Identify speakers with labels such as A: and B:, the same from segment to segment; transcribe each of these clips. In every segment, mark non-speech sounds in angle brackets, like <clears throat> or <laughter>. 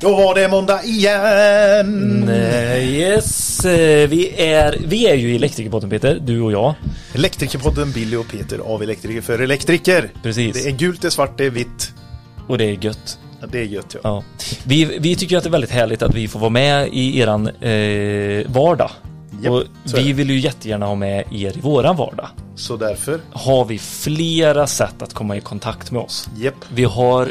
A: Då var det måndag igen!
B: Eh, Yes, eh, vi är, vi är ju elektrikerbotten Peter, du och jag.
A: Elektrikerpodden Billy och Peter av Elektriker för Elektriker.
B: Precis.
A: Det är gult, det är svart, det är vitt.
B: Och det är gött.
A: Ja, det är gött ja.
B: Ja. Vi, vi tycker ju att det är väldigt härligt att vi får vara med i eran eh, vardag.
A: Japp,
B: och
A: så är
B: vi
A: det.
B: vill ju jättegärna ha med er i våran vardag.
A: Så därför,
B: Har vi flera sätt att komma i kontakt med oss.
A: jepp.
B: Vi har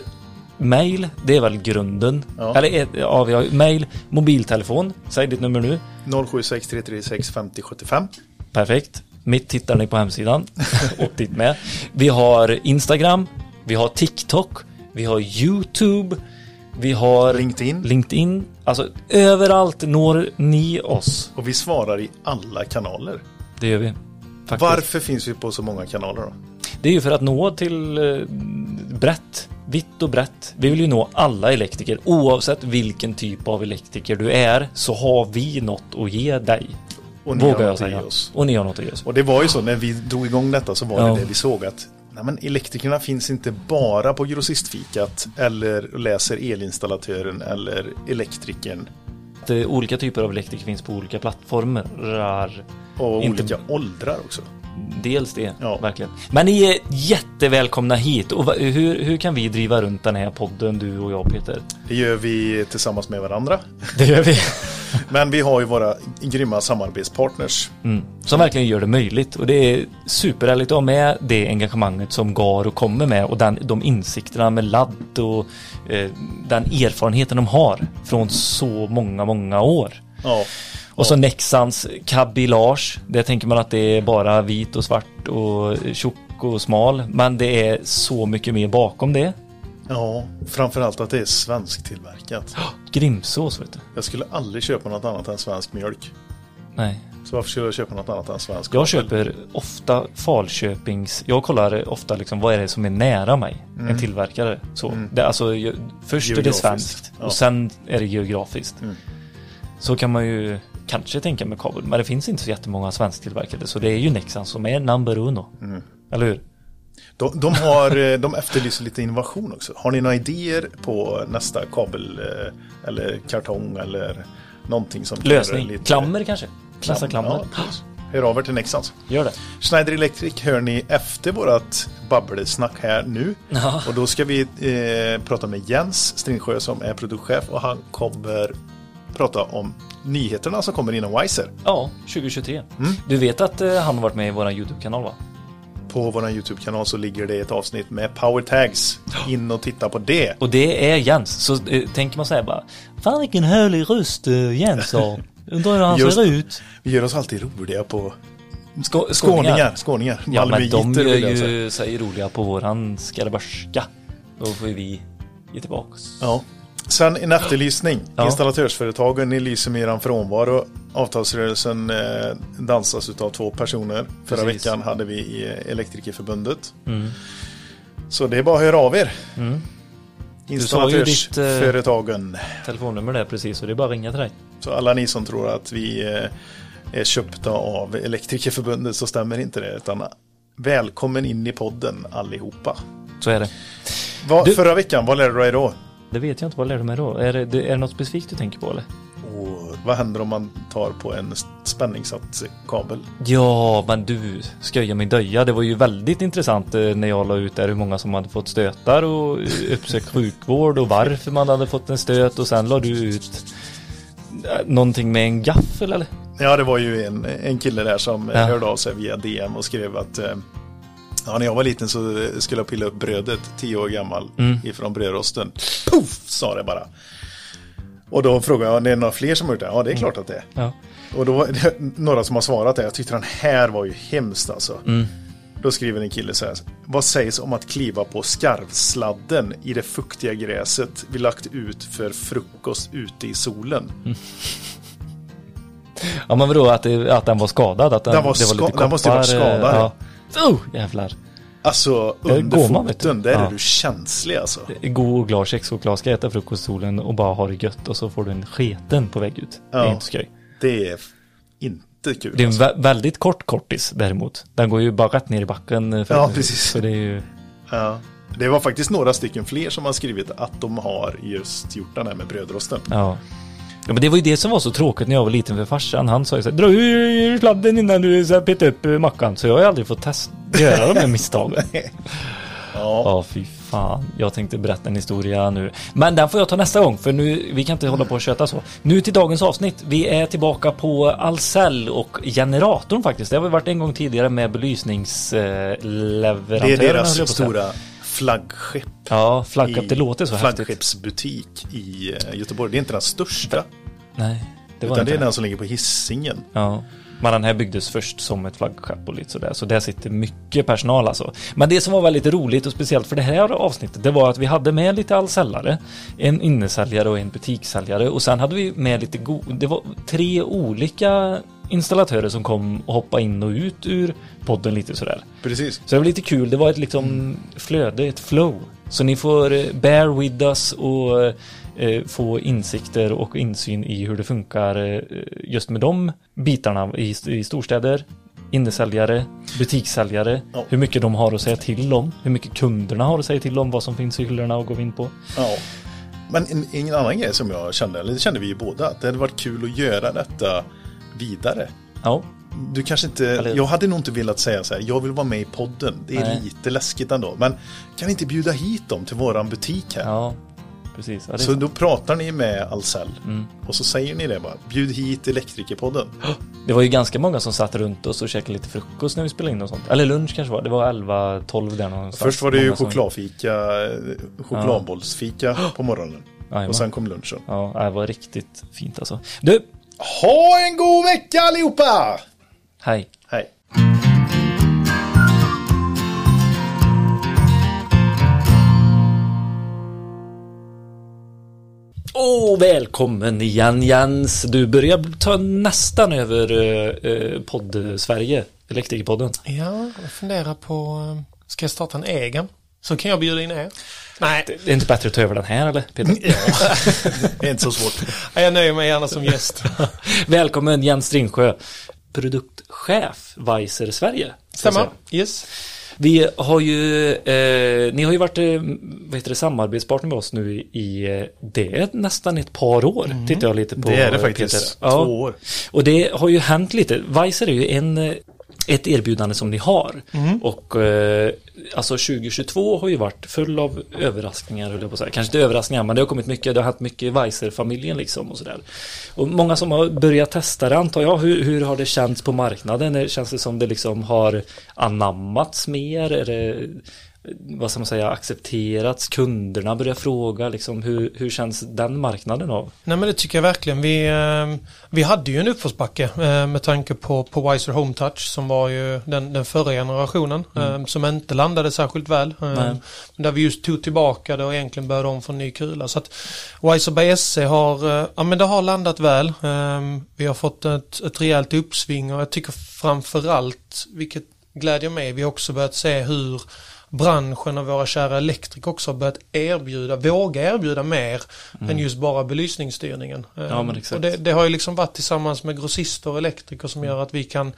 B: mail, det är väl grunden.
A: Ja.
B: Eller eh, ja, vi har mail, mobiltelefon, säg ditt nummer nu.
A: 076336 5075.
B: Perfekt. Mitt tittar ni på hemsidan <laughs> och ditt med. Vi har Instagram, vi har TikTok, vi har YouTube, vi har
A: LinkedIn.
B: LinkedIn. Alltså överallt når ni oss.
A: Och vi svarar i alla kanaler.
B: Det gör vi. Faktiskt.
A: Varför finns vi på så många kanaler då?
B: Det är ju för att nå till eh, brett, vitt och brett. Vi vill ju nå alla elektriker. Oavsett vilken typ av elektriker du är så har vi något att ge dig.
A: Och ni
B: Vågar
A: har
B: jag
A: något att
B: säga.
A: ge oss.
B: Och ni har något att ge oss.
A: Och det var ju så när vi drog igång detta så var
B: Ja.
A: det det vi såg att nej, men elektrikerna finns inte bara på grossistfikat eller läser elinstallatören eller elektrikern
B: Att eh, olika typer av elektriker finns på olika plattformar.
A: och
B: Inte-
A: olika åldrar också.
B: Dels det,
A: Ja.
B: verkligen. Men ni är jättevälkomna hit. Och va- hur, hur kan vi driva runt den här podden, du och jag Peter?
A: Det gör vi tillsammans med varandra.
B: <laughs> Det gör vi.
A: Men vi har ju våra grymma samarbetspartners.
B: Mm. Som verkligen gör det möjligt. Och det är superhärligt att ha med det engagemanget som Garo kommer med och den, de insikterna med ladd och eh, den erfarenheten de har från så många, många år.
A: Ja,
B: Och så Nexans kabillage. Där tänker man att det är bara vit och svart och tjock och smal. Men det är så mycket mer bakom det.
A: ja framförallt att det är svensktillverkat.
B: Grimsås vet du.
A: Jag skulle aldrig köpa något annat än svensk mjölk.
B: Nej.
A: Så varför skulle jag köpa något annat än svensk?
B: Jag köper ofta Falköpings, jag kollar ofta liksom vad är det som är nära mig, en tillverkare. Så. Det, är alltså, jag, först är det
A: Mm. Geografiskt.
B: svenskt
A: Ja. Mm.
B: och sen är det geografiskt. Så kan man ju kanske tänka med kabel, men det finns inte så jättemånga svensktillverkade så det är ju Nexan som är number uno.
A: Mm.
B: Eller hur?
A: De, de, har, eh, de efterlyser lite innovation också. Har ni några idéer på nästa kabel eh, eller kartong eller någonting som kan
B: Lösning.
A: göra lite-
B: Klammer kanske? Klassa klammer.
A: Ja, precis. Hör av er till Nexans.
B: Gör det.
A: Schneider Electric hör ni efter vårat babbelsnack här nu.
B: Ja.
A: Och då ska vi eh, prata med Jens Stringsjö som är produktchef och han kommer prata om nyheterna som kommer inom Wiser
B: Ja, 2023.
A: Mm.
B: Du vet att eh, han har varit med i våran YouTube-kanal va?
A: På vår YouTube-kanal så ligger det ett avsnitt med Power Tags. In och titta på det.
B: Och det är Jens. Så eh, tänker man säga bara Fan vilken härlig röst eh, Jens har. Undrar hur han
A: Just-
B: ser ut.
A: Vi gör oss alltid roliga på
B: Skå,
A: skåningar. skåningar.
B: Ja men de
A: Malmöiter vill
B: gör
A: jag säga.
B: ju sig roliga på våran skaraborgska. Då får vi ge tillbaks.
A: Ja. Sen en efterlysning.
B: Ja.
A: Installatörsföretagen, ni lyser med er frånvaro. Avtalsrörelsen eh, dansas av två personer. Förra
B: Precis. Mm.
A: veckan hade vi i eh, Elektrikerförbundet. Så det är bara att höra av er.
B: sa ju ditt, eh,
A: Installatörsföretagen.
B: Telefonnummer där precis och det är bara att ringa till dig.
A: Så alla ni som tror att vi eh, är köpta av Elektrikerförbundet så stämmer inte det. Utan välkommen in i podden allihopa.
B: Så är det.
A: Vad-
B: Du-
A: Förra veckan, vad lärde du dig då?
B: Det vet jag inte, vad lärde du mig då? Är det, det- är det något specifikt du tänker på eller?
A: Och vad händer om man tar på en spänningssatt kabel?
B: Ja, men du, sköja min döja. Det var ju väldigt intressant eh, när jag la ut där hur många som hade fått stötar och eh,
A: <laughs>
B: uppsökt sjukvård och varför man hade fått en stöt och sen la du ut eh, någonting med en gaffel eller?
A: Ja, det var ju en, en kille där som eh,
B: Ja.
A: hörde av sig via DM och skrev att eh, ja, när jag var liten så eh, skulle jag pilla upp brödet, tio år gammal, ifrån brödrosten. Puff, sa det bara. Och då frågade jag, är det några fler som har gjort det? Ja, det är klart att det är.
B: Ja.
A: Och då <laughs> var det några som har svarat det. Jag tyckte den här var ju hemskt alltså.
B: Mm.
A: Då skriver en kille så här. Vad sägs om att kliva på skarvsladden i det fuktiga gräset vi lagt ut för frukost ute i solen?
B: Mm. ja, men vadå att, det- att den var skadad? Att den,
A: Den var
B: det var lite
A: ska- den måste ju varit
B: koppar, eh,
A: skadad.
B: Ja. Oh, jävlar.
A: Alltså
B: går
A: under
B: man, vet
A: foten,
B: du.
A: där är
B: Ja.
A: du känslig alltså.
B: God och glad kexchoklad ska äta frukost i solen och bara ha det gött och så får du en sketen på väg ut. Det
A: Ja.
B: är inte skoj.
A: Det är inte kul.
B: Det är en
A: alltså.
B: vä- väldigt kort kortis däremot. Den går ju bara rätt ner i backen. eh, förhoppningsvis.
A: precis.
B: Så det är ju...
A: ja. Det var faktiskt några stycken fler som har skrivit att de har just gjort den här med brödrosten.
B: Ja. Ja, men det var ju det som var så tråkigt när jag var liten för farsan. Han sa ju så här, dra ur sladden innan du så här petar upp eh, mackan. Så jag har ju aldrig fått test-
A: <laughs>
B: göra de här misstagen.
A: Ja,
B: Ja, fy fan. Jag tänkte berätta en historia nu. Men den får jag ta nästa gång, för nu, vi kan inte hålla på och köta så. Nu till dagens avsnitt. Vi är tillbaka på Ahlsell och generatorn faktiskt. Det har vi varit en gång tidigare med belysningsleverantören.
A: det är deras stora flaggskepp.
B: Ja, flagga. Det
A: i
B: låter så häftigt.
A: Flaggskeppsbutik i eh, Göteborg. Det är inte den största,
B: Nej, det var
A: utan det
B: inte
A: är
B: det.
A: den som ligger på Hisingen.
B: Ja. Men den här byggdes först som ett flaggskepp och lite sådär. Så där sitter mycket personal alltså. Men det som var väldigt roligt och speciellt för det här avsnittet det var att vi hade med lite allsäljare. En innesäljare och en butikssäljare. Och sen hade vi med lite go- Det var tre olika installatörer som kom och hoppade in och ut ur podden lite sådär.
A: Precis.
B: Så det var lite kul. Det var ett liksom flöde, ett flow. Så ni får eh, bear with us och eh, få insikter och insyn i hur det funkar eh, just med de bitarna i, i storstäder, innesäljare, butikssäljare,
A: Ja.
B: hur mycket de har att säga till om, hur mycket kunderna har att säga till om, vad som finns i hyllorna och går in på.
A: Ja. Men en, en annan grej som jag kände, eller det kände vi ju båda, att det hade varit kul att göra detta vidare.
B: Ja,
A: Du kanske inte,
B: Eller-
A: jag hade nog inte velat säga så här, jag vill vara med i podden, det är
B: Nej.
A: lite läskigt ändå, men kan vi inte bjuda hit dem till våran butik här?
B: ja, precis. Ja, det är
A: Så då pratar ni med Ahlsell
B: Mm.
A: och så säger ni det bara, bjud hit Elektrikerpodden.
B: Det var ju ganska många som satt runt oss och käkade lite frukost när vi spelade in och sånt. Eller lunch kanske var. Det var 11-12 där någonstans.
A: Först var det ju
B: Många som-
A: chokladfika, eh, chokladbollsfika på morgonen
B: Jajamän.
A: och sen kom lunchen.
B: Ja, det var riktigt fint alltså. Du,
A: Ha en god vecka allihopa!
B: hej.
A: Hej.
B: Åh, välkommen igen Jens. Du börjar ta nästan över eh, eh, podd-Sverige, Elektrikerpodden.
C: Ja, jag funderar på, eh, ska jag starta en egen? Så kan jag bjuda in er. Nej,
B: Det är inte bättre att ta över den här eller? <laughs> Peter?
A: Det är inte så svårt.
C: nej, jag nöjer mig gärna som gäst.
B: välkommen Jens Stringsjö, produktchef Weiser Sverige. ska jag
C: Stämmer?
B: säga.
C: Yes.
B: Vi har ju, eh, ni har ju varit eh, vad heter det, samarbetspartner med oss nu i, i eh, det är nästan ett par år. Tittar jag lite på
A: Det är det
B: eh,
A: faktiskt.
B: Peter. Ja.
A: Två år.
B: Och det har ju hänt lite. Weiser är ju en, eh, ett erbjudande som ni har. Och eh, alltså 2022 har ju varit full av överraskningar, höll jag på att säga. Kanske inte överraskningar, men det har kommit mycket. Det har hänt mycket i Weiser-familjen liksom och sådär. Och många som har börjat testa det antar jag. Hur, hur har det känts på marknaden? Eh, Känns det som det liksom har anammats mer? Är det, eh, vad ska man säga, accepterats? Kunderna börjar fråga liksom hur, hur känns den marknaden av?
C: Nej men det tycker jag verkligen. Vi, eh, vi hade ju en uppförsbacke eh, med tanke på, på Wiser Home Touch som var ju den, den förra generationen eh, som inte landade särskilt väl. eh,
B: Nej.
C: Där vi just tog tillbaka det och egentligen började om från ny kula. Så att Wiser by SC har, eh, ja men det har landat väl. Eh, Vi har fått ett, ett rejält uppsving och jag tycker framförallt, vilket glädjer mig, vi har också börjat se hur branschen och våra kära elektriker också har börjat erbjuda, våga erbjuda mer än just bara belysningsstyrningen. Eh,
B: Mm. Ja, men exakt. Mm.
C: Och det, det har ju liksom varit tillsammans med grossister och elektriker som gör att vi kan,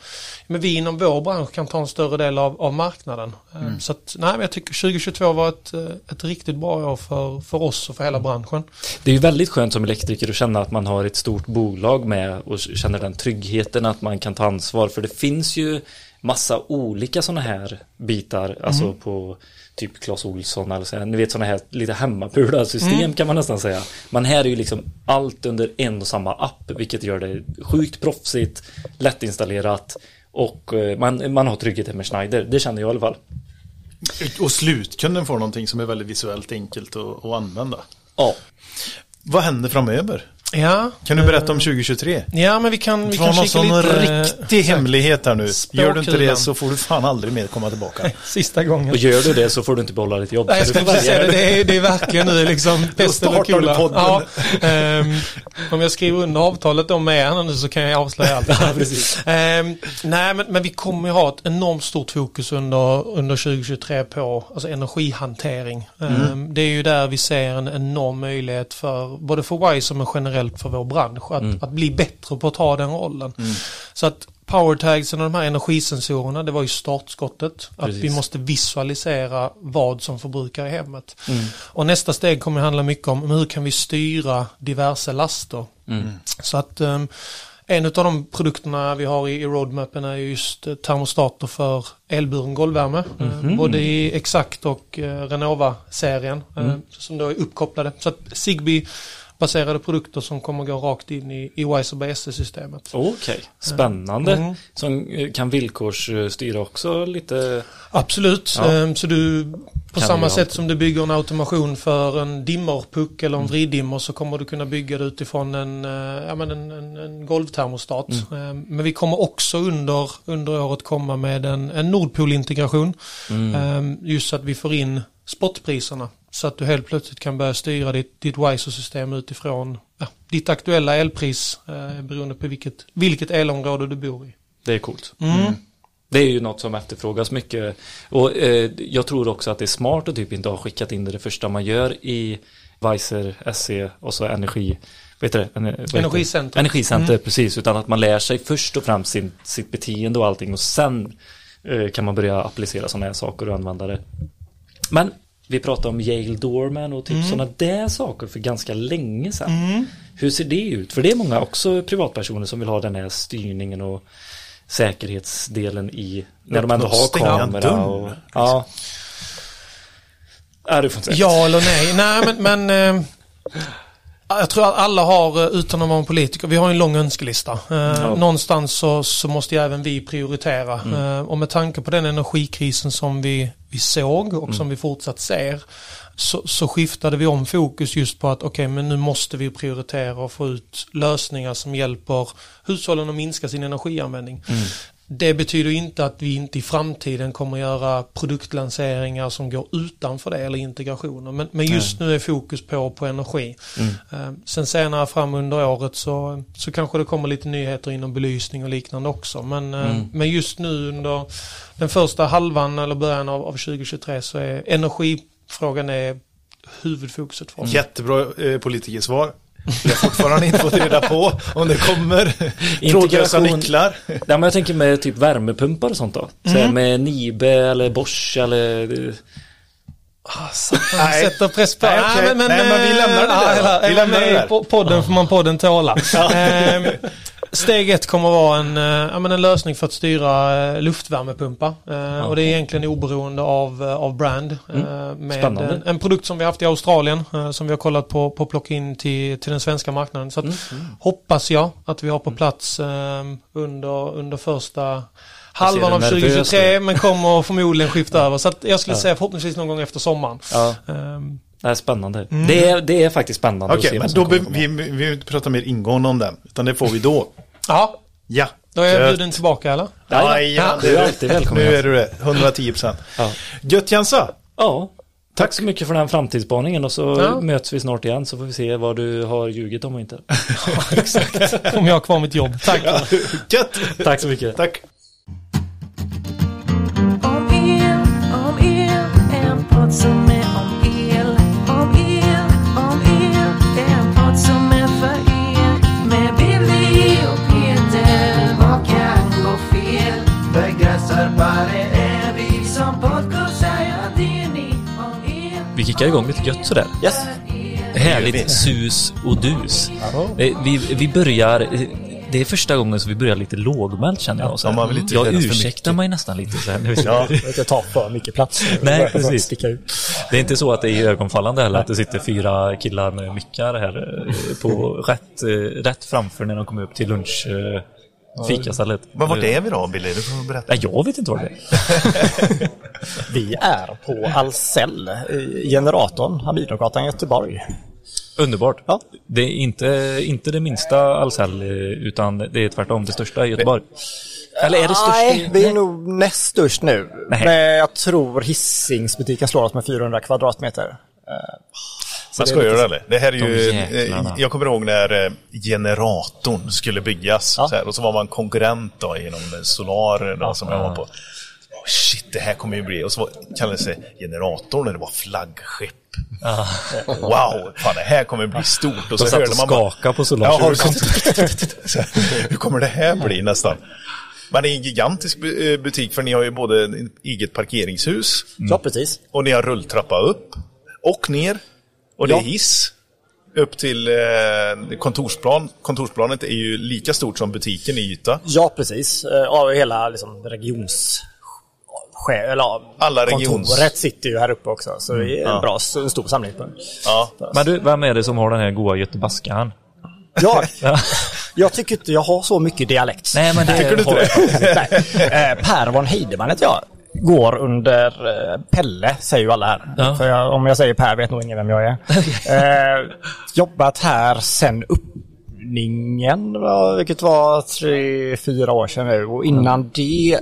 C: men vi inom vår bransch kan ta en större del av, av marknaden. Eh,
B: Mm.
C: Så att, nej, men jag tycker 2022 var ett, eh, ett riktigt bra år för, för oss och för
B: Mm.
C: hela branschen.
B: Det är ju väldigt skönt som elektriker att känna att man har ett stort bolag med och känner den tryggheten att man kan ta ansvar för det finns ju massa olika sådana här bitar,
C: Mm.
B: alltså på typ Clas Ohlson eller så här, ni vet sådana här lite hemmapulade system
C: Mm.
B: kan man nästan säga. Men här är ju liksom allt under en och samma app, vilket gör det sjukt proffsigt, lättinstallerat och eh, man, man har tryggheten med Schneider, det känner jag i alla fall.
A: Och slutkunden får någonting som är väldigt visuellt enkelt att, att använda.
B: Ja,
A: Vad händer framöver?
C: Ja,
A: Kan du berätta om 2023?
C: ja men vi kan, vi
A: Vi
C: kan
A: har någon
C: kika
A: sån
C: lite.
A: riktig hemlighet här nu. Gör du inte det
C: Spåkulan.
A: så får du fan aldrig mer komma tillbaka.
C: eh, Sista gången.
B: och gör du det så får du inte behålla ditt jobb.
C: Nej, jag
B: Så du
C: skulle
B: får
C: precis
B: välja.
C: säga det. Det är, det är verkligen nu
A: <laughs>
C: liksom pest eller
A: startar du
C: kula.
A: podden.
C: Ja, ehm, om jag skriver under avtalet om med er nu så kan jag avslöja
A: <laughs>
C: allt. Ehm, nej, men, men vi kommer ju ha ett enormt stort fokus under, under 2023 på alltså energihantering. Ehm,
A: Mm.
C: Det är ju där vi ser en enorm möjlighet
A: Mm.
C: för både för Wise men generellt för vår bransch att, att bli bättre på att ta den rollen. Så att powertagsen och de här energisensorerna, det var ju startskottet. Att
D: Precis.
C: vi måste visualisera vad som förbrukar i hemmet.
D: Mm.
C: Och nästa steg kommer att handla mycket om hur kan vi styra diverse laster.
D: Mm.
C: Så att ehm, en av de produkterna vi har i, i roadmappen är just eh, termostater för elburen golvvärme. eh,
D: Mhm.
C: både i Exact och eh, Renova-serien eh,
D: Mm.
C: som då är uppkopplade. Så att Zigbee baserade produkter som kommer gå rakt in i, i Wise och BSE-systemet.
D: Okej, spännande.
C: Eh, Mm.
D: Som eh, kan villkorsstyra också lite.
C: Absolut,
D: Ja.
C: ehm, så du på
D: Kan
C: samma
D: vi
C: sätt
D: ha- Mm.
C: som du bygger en automation för en dimmerpuck eller en vriddimmer så kommer du kunna bygga det utifrån en, eh, ja, men en, en, en golvtermostat.
D: Mm.
C: Ehm, Men vi kommer också under, under året komma med en, en Nordpol-integration.
D: Mm.
C: Ehm, Just så att vi får in spotpriserna. Så att du helt plötsligt kan börja styra ditt, ditt WISO-system utifrån ja, ditt aktuella elpris eh, beroende på vilket, vilket elområde du bor i.
D: Det är coolt.
C: Mm.
D: Det är ju något som efterfrågas mycket. Och eh, jag tror också att det är smart att typ inte ha skickat in det, det första man gör i Weiser SE och så energi. Vet du det? En, vad heter det?
C: Energicenter. Mm.
D: Energicenter, precis. Utan att man lär sig först och främst sin, sitt beteende och allting och sen eh, kan man börja applicera sådana här saker och använda det. Men vi pratade om Yale Doorman och typ
E: Mm.
D: sådana där saker för ganska länge sedan. Hur ser det ut? För det är många också privatpersoner som vill ha den här styrningen och säkerhetsdelen i när de ändå har
E: Stänga
D: kamera och...
E: dörren.
D: Ja. Ja, du får inte säga.
C: Ja eller nej. Nej men, men eh, jag tror att alla har, eh, utan att vara en politiker, vi har en lång önskelista. Eh, Någonstans så, så måste ju även vi prioritera. Eh, och med tanke på den energikrisen som vi, vi såg och som vi fortsatt ser så, så skiftade vi om fokus just på att okej men nu måste vi prioritera och få ut lösningar som hjälper hushållen att minska sin energianvändning. Det betyder inte att vi inte i framtiden kommer göra produktlanseringar som går utanför det eller integrationer. Men, men just nu är fokus på, på energi. Eh, Sen senare fram under året så, så kanske det kommer lite nyheter inom belysning och liknande också. Men, eh, men just nu under den första halvan eller början av, av 2023 så är energifrågan är huvudfokuset för oss.
E: Jättebra eh, politikersvar. Vi har fortfarande inte fått reda på om det kommer trådlösa
D: Integration.
E: nycklar.
D: <laughs> Nej, men jag tänker med typ värmepumpar och sånt då. Så
E: Mm.
D: här med Nibe eller Bosch eller...
E: Ah, Nej.
C: Sätter press på. eh,
E: Nej, okej. Nej, men vi lämnar det där, va? Vi
C: Vi
E: lämnar det där.
C: lämnar Podden får man
E: <laughs>
C: podden tåla. Ehm, Steg ett kommer vara en, eh, ja, men en lösning för att styra eh, luftvärmepumpar. Eh, Och det är egentligen oberoende av, eh, av brand. Eh,
E: Mm.
C: Med
D: Spännande.
C: En, en produkt som vi haft i Australien eh, som vi har kollat på, på att plocka in till, till den svenska marknaden. Så att,
E: Mm,
C: hoppas jag att vi har på plats eh, under, under första
D: ser
C: halvan
D: det
C: av
D: nervöst
C: 2023 men kommer förmodligen skifta över. Så att jag skulle säga förhoppningsvis någon gång efter sommaren.
D: Ja,
C: Ehm,
D: <laughs> det är spännande. Det, är, det är faktiskt spännande
E: Mm. Okej,
D: vad
E: men
D: som
E: då be,
D: kommer.
E: vi, vi behöver inte prata mer ingående om den, utan det får vi då.
C: Ja,
E: Ja.
C: då är jag
E: Gött.
C: bjuden tillbaka eller?
E: Aj, ja,
C: Ja,
E: det
D: du är
E: du.
D: alltid välkommen.
E: Nu är du det, 110 procent.
D: Ja.
E: Gött Jensa!
D: Ja, tack så mycket för den framtidsspaningen och så
C: Ja.
D: möts vi snart igen så får vi se vad du har ljugit om och inte.
C: Om jag har kvar mitt jobb. Tack.
E: Gött!
D: tack så mycket.
E: Tack!
F: Om el, om el, en podd som är om el. Om el, om el, en podd som är för er. Med Billy och Peter, vad kan gå fel? Begränsarbare är vi som podcastar, ja det är ni. Om el,
B: Vi kickar igång lite gött sådär.
F: Yes.
B: Härligt sus och dus. Eh, Vi, vi börjar... eh, Det är första gången som vi börjar lite lågmält känner jag. Så här.
E: man vill inte
B: jag
E: redas för
B: ursäktar mig nästan lite. Så här. nu.
E: Ja.
G: Jag vet inte ta för mycket plats.
B: Nej,
G: Jag
B: precis.
G: Sticka ut.
B: Det är inte så att det är ögonfallande heller att det sitter fyra killar med myckar här eh, på rätt, eh, rätt framför när de kommer upp till lunch eh, fikastället.
A: Men vart är vi då Billy? Du får berätta.
B: Nej, jag vet inte var det är.
G: Vi är på Ahlsell, i generatorn, Hamidogatan, Göteborg.
B: Underbart.
G: Ja.
B: Det är inte, inte det minsta Ahlsell eh, utan det är tvärtom det största i Göteborg. Eller är det största?
G: Nej,
B: i-
G: vi är nog näst störst nu.
B: Nej.
G: Men jag tror Hisingsbutiken slår oss med 400 kvadratmeter.
B: Mm.
A: Men skojar du eller? Det här är ju,
B: De jäklarna.
A: eh, jag kommer ihåg när eh, generatorn skulle byggas.
G: Ja.
A: Så här, och så var man konkurrent då inom Solar då, som jag var på. shit, det här kommer ju bli... Och så var- kallades det generatorn och det var flaggskepp. Wow, fan det här kommer bli stort. Och så
B: satt
A: hörde
B: och
A: man bara-
B: skakade på Solar.
A: Ja, har du sånt- så här, Hur kommer det här bli nästan? Men det är en gigantisk bu- eh, butik för ni har ju både en- eget parkeringshus
G: Ja, precis.
A: och ni har rulltrappa upp och ner. Och det är hiss upp till eh, kontorsplan. Kontorsplanet är ju lika stort som butiken i yta.
G: Ja, precis. Eh, Ja, hela liksom, regions... Che- eller, ja,
A: Alla regions-
G: Kontoret sitter ju här uppe också, så det
B: Mm.
G: är en bra, en stor samlingspunkt.
A: Ja.
B: Men du, vem är det som har den här goa göteborgskan?
G: Ja, jag tycker inte jag har så mycket dialekt.
B: Nej, men det
G: tycker du inte det? Nej. Eh, Per von Heideman heter jag. Går under eh, Pelle, säger ju alla här.
B: Ja.
G: För jag, om jag säger Per vet nog ingen
B: <laughs>
G: vem jag är. Eh, jobbat här sen öppningen, va, vilket var tre, fyra år sedan nu. Och innan
B: Mm.
G: det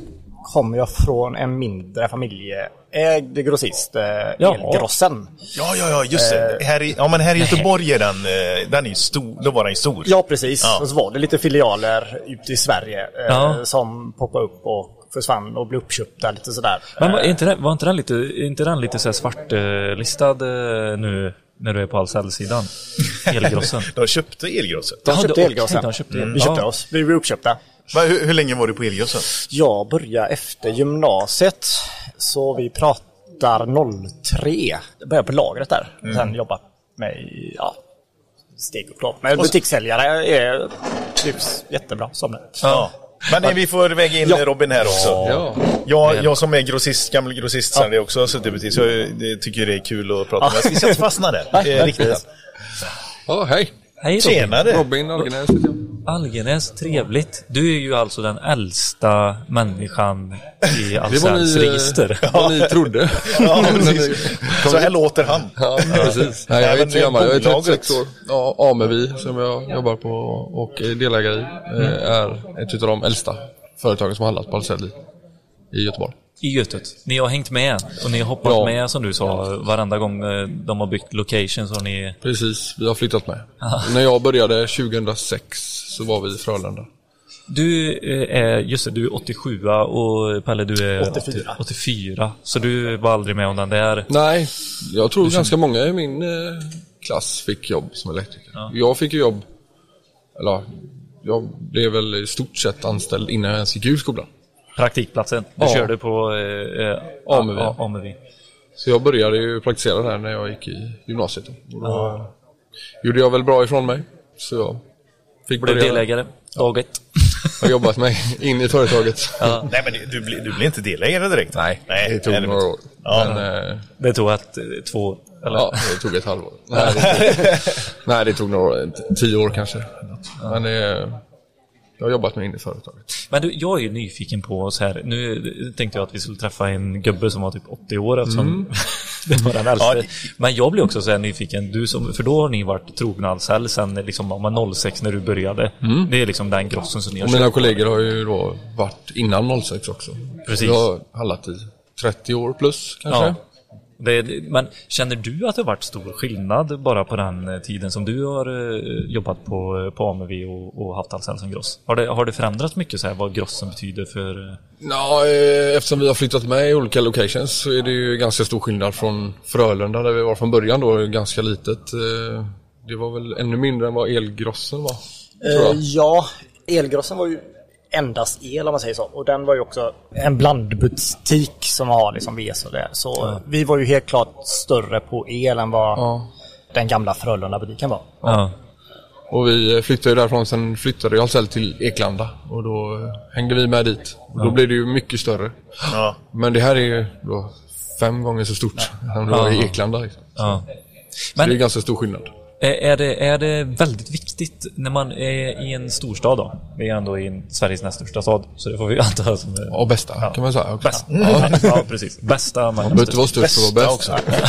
G: kom jag från en mindre familjeägd grossist, eh,
B: Ja.
G: Elgrossen.
A: Ja, ja, ja, just det. Eh, Här i, ja, men här i Göteborg är den, eh, den är ju stor. Då var den ju stor.
G: Ja, precis.
A: Ja.
G: Och så var det lite filialer ute i Sverige eh,
B: Ja.
G: som poppade upp och försvann och blev uppköpta lite sådär.
B: Men var inte den, var inte den lite, är inte den lite så här svartlistad eh, nu när du är på all
G: <laughs>
B: säljsidan? Elgrossen.
A: De köpte elgrossen.
G: de
B: Ja,
G: köpte
B: det-
G: Elgrossen.
B: okej, de köpte
G: Vi
B: Elgrossen.
G: köpte
B: Ja.
G: oss. Vi blev uppköpta.
A: Men hur, hur länge var du på elgrossen?
G: Jag började efter gymnasiet, så vi pratar 03. Jag började på lagret där.
B: Mm.
G: Sen jobbat med ja, steg och klart. Men butikssäljare är trivs jättebra som det.
A: Ja. Men eh, vi får väga in
G: Ja.
A: Robin här också.
H: Ja.
A: Jag, jag som är grossist, gammal grossist sen det också har suttit i butik, så jag det tycker det är kul att prata med. Vi ska inte fastna där. eh, Riktigt.
H: Ja, hej.
B: Hej Robin!
A: Tjenare!
H: Robin Algenäs heter jag.
B: Algenäs, trevligt. Du är ju alltså den äldsta människan i
H: Det var
B: Ahlsells
H: ni, eh,
B: register.
H: vad ni trodde.
A: Ja,
H: Men ni-
A: precis. Så här låter han.
H: Ja, precis. Nej, jag
A: Nej,
H: är
A: men
H: inte
A: det är
H: gammal. Jag är
A: bolaget.
H: 36 år. Ja, Amevi som jag jobbar på och är delägare i eh,
A: Mm.
H: är ett av de äldsta företagen som har handlat på Ahlsell i, i Göteborg.
B: I Götet. Ni har hängt med och ni har hoppat
H: Ja.
B: med som du sa varenda gång eh, de har byggt locations och ni...
H: Precis, vi har flyttat med. När jag började 2006 så var vi i Frölunda.
B: Du eh, är, just det, du är 87 och Pelle du är
G: 84.
B: 84. Så du var aldrig med om den där.
H: Nej, jag tror ganska många i min eh, klass fick jobb som elektriker. Jag fick ju jobb, eller ja, jag blev väl i stort sett anställd innan jag ens gick ut skolan.
B: Praktikplatsen. Du
H: Ja.
B: körde på eh, eh,
H: AMV.
B: A- A- AMV.
H: Så jag började ju praktisera där när jag gick i gymnasiet. Och då gjorde jag väl bra ifrån mig. Så jag fick
B: Blev
H: börja.
B: delägare. Dag ett.
H: Har jobbat mig <laughs> in i företaget.
A: Nej, men det- du, blir- du blir inte delägare direkt?
H: Nej,
A: Nej,
H: det tog
A: nej,
H: några år.
A: Ja.
H: Men, eh,
B: Det tog att eh, två... Eller,
H: Ja, det tog ett halvår. Nej, det tog, <laughs> nej, det tog några år, t- tio år kanske. Men det, jag har jobbat mig in i företaget.
B: Men du, jag är ju nyfiken på så här. Nu tänkte jag att vi skulle träffa en gubbe som var typ 80 år eftersom <laughs> det var den äldste.
A: Ja.
B: Men jag blir också så här nyfiken. Du som, för då har ni varit trogna Ahlsell sen liksom, ja, men 06 när du började. Det är liksom den grossen som ni har
H: Och mina kollegor har ju då varit innan 06 också.
B: Precis.
H: Jag har handlat i 30 år plus kanske.
B: Ja. Det, men känner du att det har varit stor skillnad bara på den eh, tiden som du har eh, jobbat på, på AMV och, och haft Ahlsell som gross? Har det, har det förändrats mycket så här, vad grossen betyder för... eh,
H: Ja, eh, eftersom vi har flyttat med i olika locations så är det ju ganska stor skillnad från Frölunda där vi var från början då, ganska litet. Eh, Det var väl ännu mindre än vad Elgrossen var. tror jag.
G: Eh, ja, elgrossen var ju endast el om man säger så. Och den var ju också en blandbutik som har liksom VS och det. Så eh, vi var ju helt klart större på el än vad
H: Ja.
G: den gamla Frölunda-butiken var.
B: Ja.
H: Och vi eh, flyttade ju därifrån, sen flyttade jag själv till Eklanda och då eh, hängde vi med dit. Och då blev det ju mycket större.
A: Ja.
H: Men det här är ju då fem gånger så stort som det var i Eklanda. Liksom.
B: ja.
H: Så det är
B: Men-
H: ganska stor skillnad.
B: Är- Är det, är det väldigt viktigt när man är i en storstad då? Vi är ändå i en, Sveriges näst största stad, så det får vi anta som... eh,
H: Och bästa kan man säga. Också.
B: Bäst. Ja, ja, precis. Bästa
H: Man behöver inte vara störst för att vara bäst.
B: <laughs>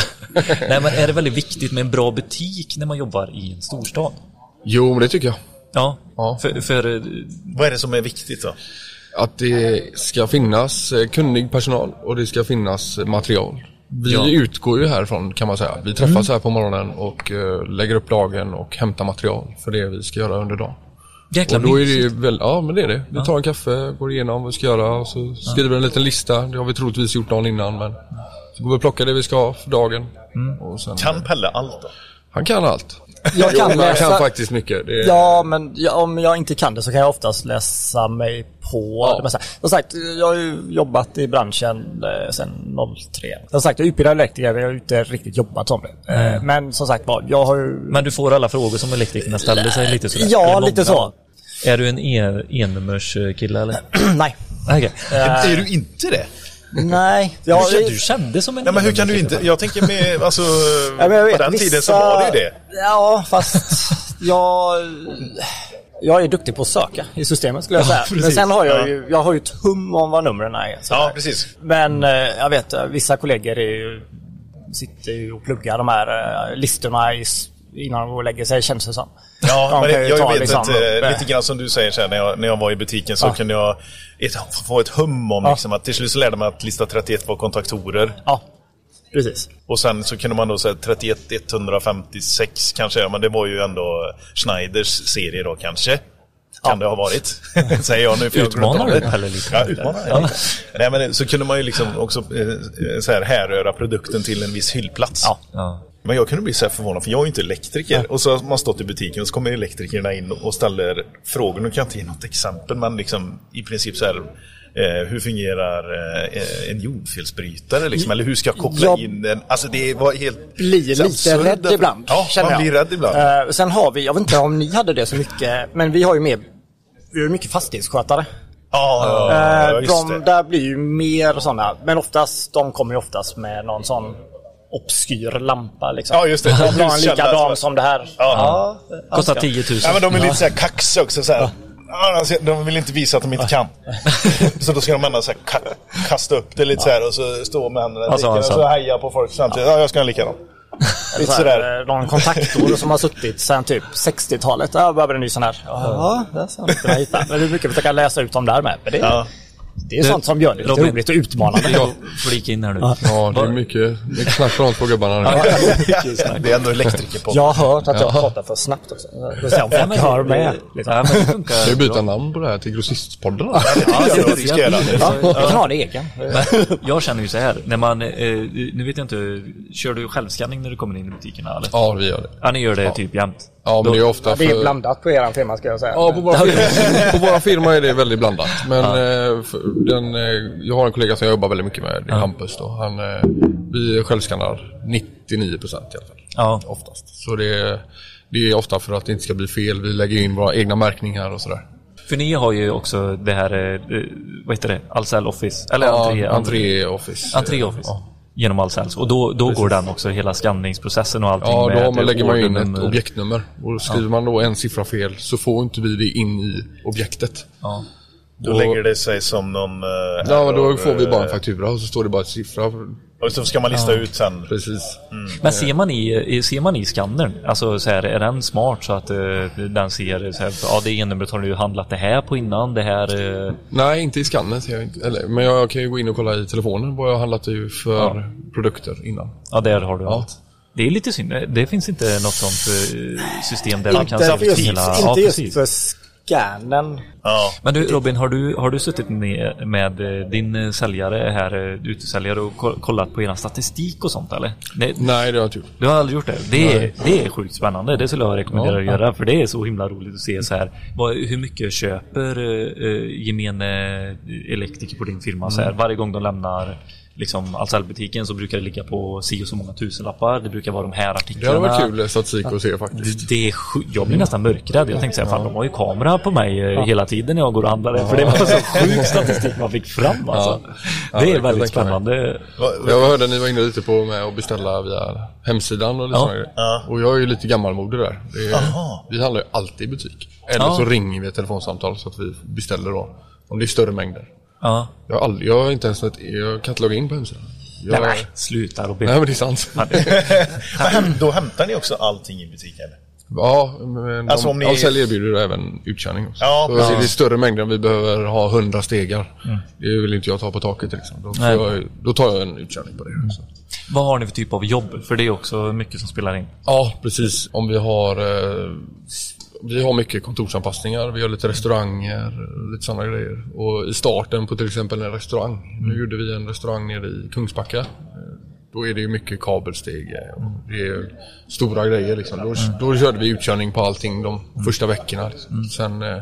B: Nej, men är det väldigt viktigt med en bra butik när man jobbar i en storstad?
H: Jo, men det tycker jag.
B: Ja,
H: Ja.
B: För, för eh,
A: Vad är det som är viktigt då?
H: Att det ska finnas eh, kunnig personal och det ska finnas eh, material. Vi
B: Ja.
H: utgår ju härifrån kan man säga. Vi träffas här på morgonen och eh, lägger upp dagen och hämtar material för det vi ska göra under dagen.
B: Jäkla
H: Och då är det
B: mysigt.
H: ju väl, ja men det är det. Vi tar en kaffe, går igenom vad vi ska göra och så skriver vi en liten lista. Det har vi troligtvis gjort dagen innan men så går vi och plockar det vi ska ha för dagen. Och sen,
A: Kan Pelle allt då?
H: Han kan allt.
G: Jag kan
H: Han kan
G: läsa.
H: faktiskt mycket. Det är,
G: Ja, men ja, om jag inte kan det så kan jag oftast läsa mig på det mesta. Som sagt, jag har ju jobbat i branschen eh, sedan 03. Som sagt, jag är utbildad elektriker, men jag har ju inte riktigt jobbat som det. Eh,
A: Mm.
G: Men som sagt var, jag har ju... <clears throat>
B: Men du får alla frågor som elektrikerna ställer sig lite sådär?
G: Ja,
B: Eller
G: lite
B: många.
G: så.
B: Är du en en- ennummerskille eller?
G: Nej.
B: Okej.
A: Är du inte det?
G: Nej. Jag, har-
B: Du kände som en
A: Nej, men hur kan du inte?
B: enummerskille.
A: Jag tänker med, alltså,
G: <laughs> Ja, men jag vet,
A: på den
G: vissa-
A: tiden så var det ju det.
G: Ja, fast jag... Jag är duktig på att söka i systemet skulle jag säga. Men
A: precis.
G: sen har
A: Ja.
G: jag ju, jag har ju ett hum om vad numren är. Så.
A: Ja, precis.
G: Men eh, jag vet, eh, vissa kollegor är ju, sitter ju och pluggar de här eh, listorna i, s- innan de går och lägger sig känns det som.
A: Ja,
G: De
A: men
G: kan
A: det,
G: ju
A: jag
G: ta
A: vet
G: liksom
A: att
G: upp,
A: eh,
G: eh,
A: lite grann som du säger så här, när jag, när jag var i butiken så
G: Ja.
A: kunde jag ett, få ett hum om
G: Ja.
A: liksom, att till slut så lärde man att lista 31 var kontaktorer
G: Ja, precis.
A: och sen så kunde man då säga 31 156 kanske, ja, men det var ju ändå Schneiders serie då kanske. Kan det ha varit, <laughs> säger jag nu. för jag har glömt
B: Utmanar
A: av
B: du
A: det.
B: Pelle lite?
A: Ja, utmanar jag. Nej, men så kunde man ju liksom också eh, eh, så här, härröra produkten till en viss hyllplats.
G: Ja.
B: Ja.
A: Men jag kunde bli så här förvånad, för jag är ju inte elektriker. Och så har man stått i butiken och så kommer elektrikerna in och ställer frågor. Nu kan jag inte ge något exempel, men liksom, i princip så här. Eh, hur fungerar eh, en jordfelsbrytare? Liksom? Eller hur ska jag koppla
G: Jag-
A: in en... Alltså det var helt...
G: blir
A: så
G: lite
A: absurda
G: rädd
A: frågor.
G: ibland.
A: Ja, man
G: känner jag.
A: blir rädd ibland.
G: Eh, sen har vi, jag vet inte om ni hade det så mycket, men vi har ju mer, vi har ju mycket fastighetsskötare.
A: ja,
G: Eh,
A: ja, just
G: de
A: det.
G: där blir ju mer sådana, men oftast, de kommer ju oftast med någon sån obskyr lampa liksom.
A: Ja, just det.
G: De vill ha en
A: Ljuskälla,
G: likadan
A: så-
G: som det här.
A: Ja.
G: Ja,
B: Kostar
G: ska-
B: 10 000.
A: Ja, men de är lite så här kaxiga också. Så här. Ja, alltså, De vill inte visa att de inte <laughs> kan. Så då ska de ändå så här ka- kasta upp det lite så här och så stå med händerna i
B: Alltså,
A: fickorna
B: alltså.
A: och så heja på folk samtidigt. Ja, jag ska ha en likadan. Lite
G: Så
A: sådär.
G: här, eh, någon kontaktor som har suttit sedan typ 60-talet. Ja, Jag behöver en ny sån här. Ja, det är sant. Jag hittar. Men det brukar vi försöka läsa ut dem där med. Men det,
A: Ja.
G: det är sånt som gör det lite
B: Robin.
G: roligt och utmanande.
B: Jag flika in här nu.
H: ja, det är mycket, mycket snack framåt på gubbarna. nu.
A: <laughs> Det är ändå elektriker på.
G: Jag har hört att jag pratar för snabbt också. Det är så jag folk hör med. Liksom.
B: Ja, men det funkar.
H: Ska vi byta namn på det här till Grossistpodden?
A: Ja, det är det vi ska göra.
G: Jag kan ha en egen.
B: Men jag känner ju så här, när man, eh, nu vet jag inte, kör du självskanning när du kommer in i butikerna eller?
H: Ja, vi gör det.
B: Ja, ni gör det typ jämt.
H: Ja, men det är ofta
G: Det är
H: för...
G: blandat på er firma ska jag säga.
H: Ja, på våra, firma, på våra firma är det väldigt blandat. Men eh, för- den, eh, jag har en kollega som jag jobbar väldigt mycket med, det är Hampus. Då. Han, eh, vi självskannar 99 procent i alla fall.
B: Ja.
H: Oftast. Så det, det är ofta för att det inte ska bli fel. Vi lägger in våra egna märkningar och sådär.
B: För ni har ju också det här, eh, vad heter det, Ahlsell Office? Eller entré?
H: Ja, entré office.
B: Entré Office. Genom Ahlsells. Och då, då går den också, hela skanningsprocessen och allting
H: Ja, då
B: med
H: har man,
B: att
H: lägger man ju in
B: ordernummer-
H: ett objektnummer. Och skriver man då en siffra fel så får inte vi det in i objektet.
B: Ja.
A: Då lägger det sig som någon... eh,
H: Ja, men då
A: error,
H: får vi bara en
A: eh,
H: faktura och så står det bara en siffra.
A: Och så ska man lista ut sen.
H: Precis.
B: Men ser man i, i- ser man i skannern, alltså så här, är den smart så att eh, den ser så här, ja det e-numret har du handlat det här på innan, det här... eh,
H: Nej, inte i skannen. ser jag inte. Eller, men jag kan ju gå in och kolla i telefonen vad jag har handlat ju för
B: Ja.
H: produkter innan.
B: Ja, där har du
H: Ja.
B: allt. Det är lite synd. Eh, Det finns inte något sånt eh, system där man kan se
G: Inte just,
B: liksom hela... Ja,
G: inte just
B: precis.
G: för scannen.
A: Ja.
B: Men du Robin, har du, har du suttit ner med eh, din eh, säljare här, eh, utesäljare och ko- kollat på er statistik och sånt eller? Nej,
H: Nej, det har jag inte gjort.
B: Du har aldrig gjort det? Det är, det är sjukt spännande. Det skulle jag rekommendera att göra för det är så himla roligt att se så här. Vad, hur mycket köper eh, eh, gemene eh, elektriker på din firma? Så
H: Mm.
B: här, varje gång de lämnar liksom Ahlsell-butiken så brukar det ligga på si och så många tusenlappar. Det brukar vara de här
H: Det
B: artiklarna.
H: hade varit kul eh, statistik att se faktiskt.
B: Det- Det är sju- jag blir nästan mörkrädd. Jag tänkte säga, fan de har ju kamera på mig eh, hela tiden när jag går och handlar. För det var så sjuk statistik man fick fram alltså.
H: Ja,
B: Det
H: jag
B: är
H: kan
B: väldigt
H: tänka mig.
B: spännande.
H: Jag hörde ni var inne lite på med att beställa via hemsidan och lite
B: Ja.
H: såna grejer. Och jag är ju lite gammalmodig där. Det är, vi handlar ju alltid i butik. Eller
B: Ja.
H: så ringer vi ett telefonsamtal så att vi beställer då. Om det är större mängder.
B: Ja,
H: Jag har, aldrig, jag har inte ens ett, jag kan inte logga in på hemsidan. Jag,
B: nej, nej, sluta
H: <laughs>
B: Robin.
H: nej men det är sant.
A: Men häm- då hämtar ni också allting i butiken?
H: Ja, men de,
A: Alltså, om ni-
H: Ahlsell erbjuder även utkörning också.
A: Ja,
H: så
A: precis.
H: det är större mängder om vi behöver ha 100 stegar. Det vill inte jag ta på taket liksom. Då, får
B: Mm. Nej.
H: jag, då tar jag en utkörning på det. Så.
B: Vad har ni för typ av jobb? För det är också mycket som spelar in.
H: Ja, precis. Om vi har eh, om vi har mycket kontorsanpassningar, vi har lite restauranger, lite sådana grejer. Och i starten på till exempel en restaurang, nu gjorde vi en restaurang nere i Kungsbacka. Eh, Då är det ju mycket kabelstege och det är stora grejer liksom. Då, då körde vi utkörning på allting de första veckorna. Liksom. Sen eh,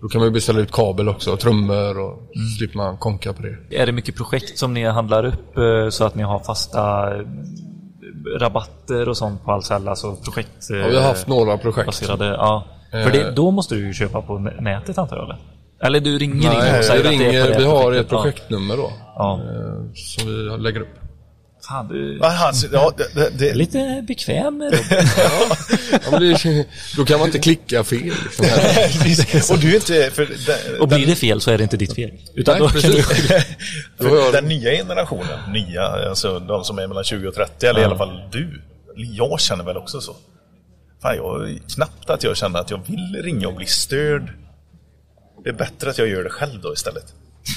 H: då kan man ju beställa ut kabel också, och trummor och slipper man konka på det.
B: Är det mycket projekt som ni handlar upp eh, så att ni har fasta eh, rabatter och sånt på Ahlsell? Alltså projekt... eh,
H: Ja, vi har haft några projekt. Eh.
B: baserade, ja. För det, då måste du ju köpa på nä- nätet antar jag eller? Eller du ringer in
H: Nej,
B: och säger
H: vi,
B: att det är på
H: ringer,
B: det
H: vi har ett
B: projektet, ja.
H: projektnummer då.
B: Ja.
H: eh, Som vi lägger upp.
B: Fan, du
A: Ja, han- ja, det, det, det, <laughs>
B: är lite bekväm med
H: Ja, men det, då kan man inte klicka fel. Liksom.
A: och du är inte... För den,
B: Och blir det fel så är det inte ditt fel. Utan
H: Nej,
B: då
H: precis. Då
A: För
H: har jag,
A: den nya generationen, nya, alltså de som är mellan 20 och 30, eller i alla fall du. Jag känner väl också så. Fan, jag, knappt att jag känner att jag vill ringa och bli störd. Det är bättre att jag gör det själv då istället.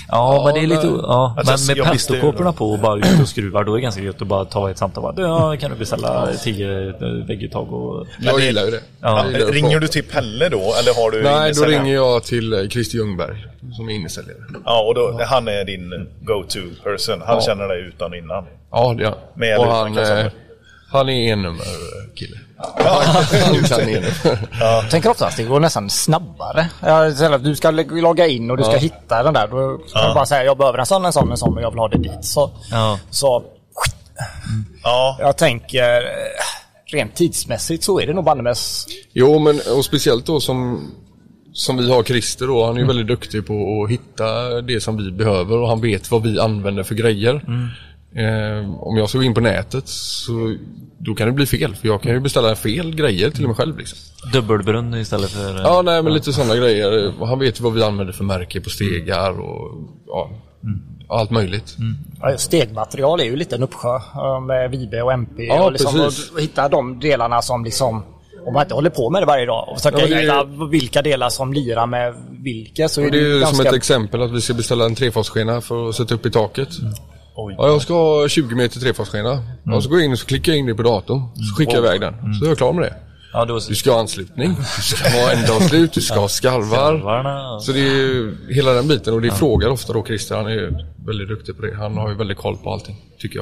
B: Ja, men det är lite...
H: men-
B: Ja,
A: Alltså,
B: men med
A: jag visste ju-
B: pentokåporna på och bara ut och skruvar, då är det ganska gött att bara ta ett samtal. Bara, "Du, ja, kan du beställa tio eh, vägguttag och...
H: jag gillar ju det.
B: Ja.
H: Jag
A: Eh,
H: gillar att
A: ringer
H: prata.
A: du till Pelle då, eller har du
H: Nej, då
A: innesäljare?
H: ringer jag till eh, Christer Ljungberg som är innesäljare.
A: Ja, och då, han är din go-to-person. Han känner dig utan och innan.
H: Ja, det gör
A: Med
H: han. Och
A: eller
H: han,
A: utan kassabon?
H: eh, han är ennummerkille. <laughs> Han kan ennummer.
G: Jag tänker oftast det går nästan snabbare. Ja, istället för att Du ska log- logga in och du ska hitta den där. Då kan du bara säga jag behöver en sån, en sån, en sån och jag vill ha det dit. Så,
B: Ja.
G: så
A: Ja,
G: jag tänker eh, rent tidsmässigt så är det nog bannemäss.
H: Jo, men och speciellt då som, som vi har Christer då. Han är ju väldigt duktig på att hitta det som vi behöver och han vet vad vi använder för grejer.
B: Mm.
H: Eh, om jag ska gå in på nätet så då kan det bli fel. För jag kan ju beställa fel grejer till mig själv. Liksom.
B: Dubbelbrunn istället för... eh,
H: Ja, nej, men lite sådana grejer. Han vet vad vi använder för märke på stegar och ja, allt möjligt.
G: Ja, Stegmaterial är ju lite en uppsjö eh, med VB och MP.
H: Ja,
G: och liksom,
H: precis.
G: och hitta de delarna som liksom om man inte håller på med det varje dag och försöka
H: Ja, det är ju-
G: hitta vilka delar som lirar med vilka så är
H: Och
G: det,
H: det är ju som
G: ganska...
H: ett exempel att vi ska beställa en trefasskena för att sätta upp i taket.
A: Oj.
H: Ja, jag ska ha 20 meter trefasskena. Och så går jag in och så klickar jag in det på datorn. Så skickar jag iväg den. Så är jag klar med det.
B: Ja, då...
H: Du ska ha anslutning, du ska ha ändavslut, du ska ha skarvar.
B: Varna.
H: Så det är ju hela den biten och det frågar ofta då Christer. Han är ju väldigt duktig på det. Han har ju väldigt koll på allting, tycker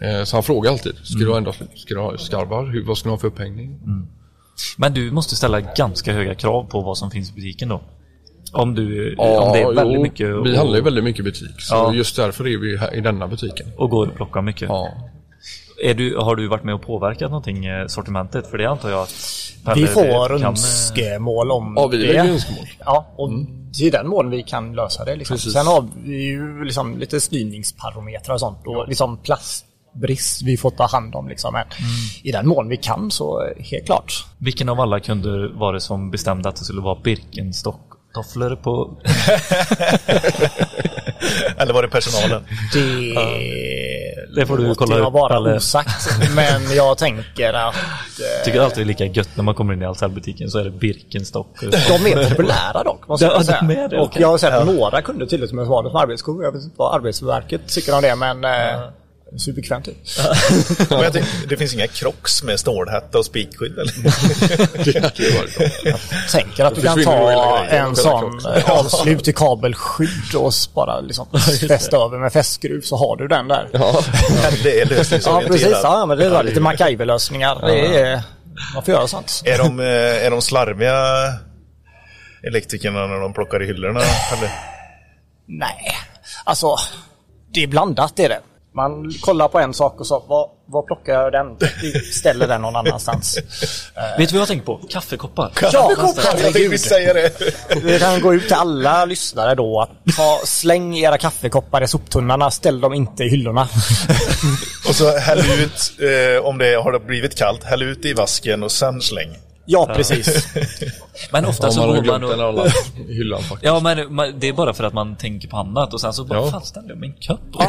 H: jag. Eh, Så han frågar alltid. Ska
B: Mm.
H: du ha ändavslut? Ska du ha skarvar? Hur, vad ska du ha för upphängning?
B: Men du måste ställa ganska höga krav på vad som finns i butiken då. Om du... om det
H: Ja,
B: är väldigt
H: jo,
B: mycket
H: Vi
B: och-
H: handlar ju väldigt mycket i butik. Så
B: Ja.
H: just därför är vi här i denna butiken.
B: och går och plockar mycket.
H: Ja.
B: Är du, har du varit med och påverkat någonting eh, sortimentet? För det antar jag att
G: Vi
B: Pelle
G: får
B: kan, eh,
G: önskemål om
H: Ja, vi lägger önskemål.
G: Ja, och
B: Mm.
G: det är den mån vi kan lösa det. Liksom. Sen har vi ju liksom lite styrningsparametrar och sånt. Och liksom plastbrist vi får ta hand om. Liksom. Men
B: Mm.
G: I den mån vi kan så eh, helt klart.
B: Vilken av alla kunder var det som bestämde att det skulle vara Birkenstock-tofflor på...
A: eller var det personalen?
G: Det,
B: Det får du
G: låter
B: kolla
G: jag
B: upp,
G: vara
B: eller?
G: osagt. Men jag tänker att eh,
B: Tycker alltid det är lika gött när man kommer in i Ahlsell-butiken så är det Birkenstock.
G: de är populära dock. Måste
B: Ja,
G: jag
B: de
G: säga.
B: är det,
G: och
B: okej.
G: jag har sett några kunder till och med som har det som arbetsskor. Jag vet inte vad Arbetsverket tycker om det men eh, superbekvämt ut.
A: Men jag tänkte, det finns inga krocks med stålhätta och spikskydd eller?
B: <laughs> Alltså,
G: tänker att du kan
H: försvinner nog hela
G: ta
H: grejen.
G: en
H: Själva
G: sån eh, avslut i kabelskydd och s- bara <laughs> liksom fästa över med fästskruv så har du den där. <laughs> Ja,
A: det är
G: precis.
A: lösningsorienterat.
G: Ja, men det är lite MacGyver-lösningar. Det är, man får göra sånt.
A: Är de, eh, är de slarviga elektrikerna när de plockar i hyllorna? Eller?
G: Nej, alltså det är blandat är det. Man kollar på en sak och så, vad, vad plockar jag den? Vi ställer den någon annanstans.
B: Vet du vad jag tänker på? Kaffekoppar.
G: <laughs> Ja,
A: Jag tänkte
G: herregud.
A: vi säga det.
G: Vi kan gå ut till alla lyssnare då att ta, släng era kaffekoppar i soptunnorna, ställ dem inte i <laughs> hyllorna.
A: Och så häll ut, eh, om det har det blivit kallt, häll ut i vasken och sen släng.
G: Ja, precis.
B: Men ofta
H: Ja,
B: så
H: man har
B: går
H: glömt
B: man
H: den
B: och...
H: alla i hyllan faktiskt.
B: Ja, men man, det är bara för att man tänker på annat och sen så bara,
H: Ja.
B: fan ställde jag min kopp? Och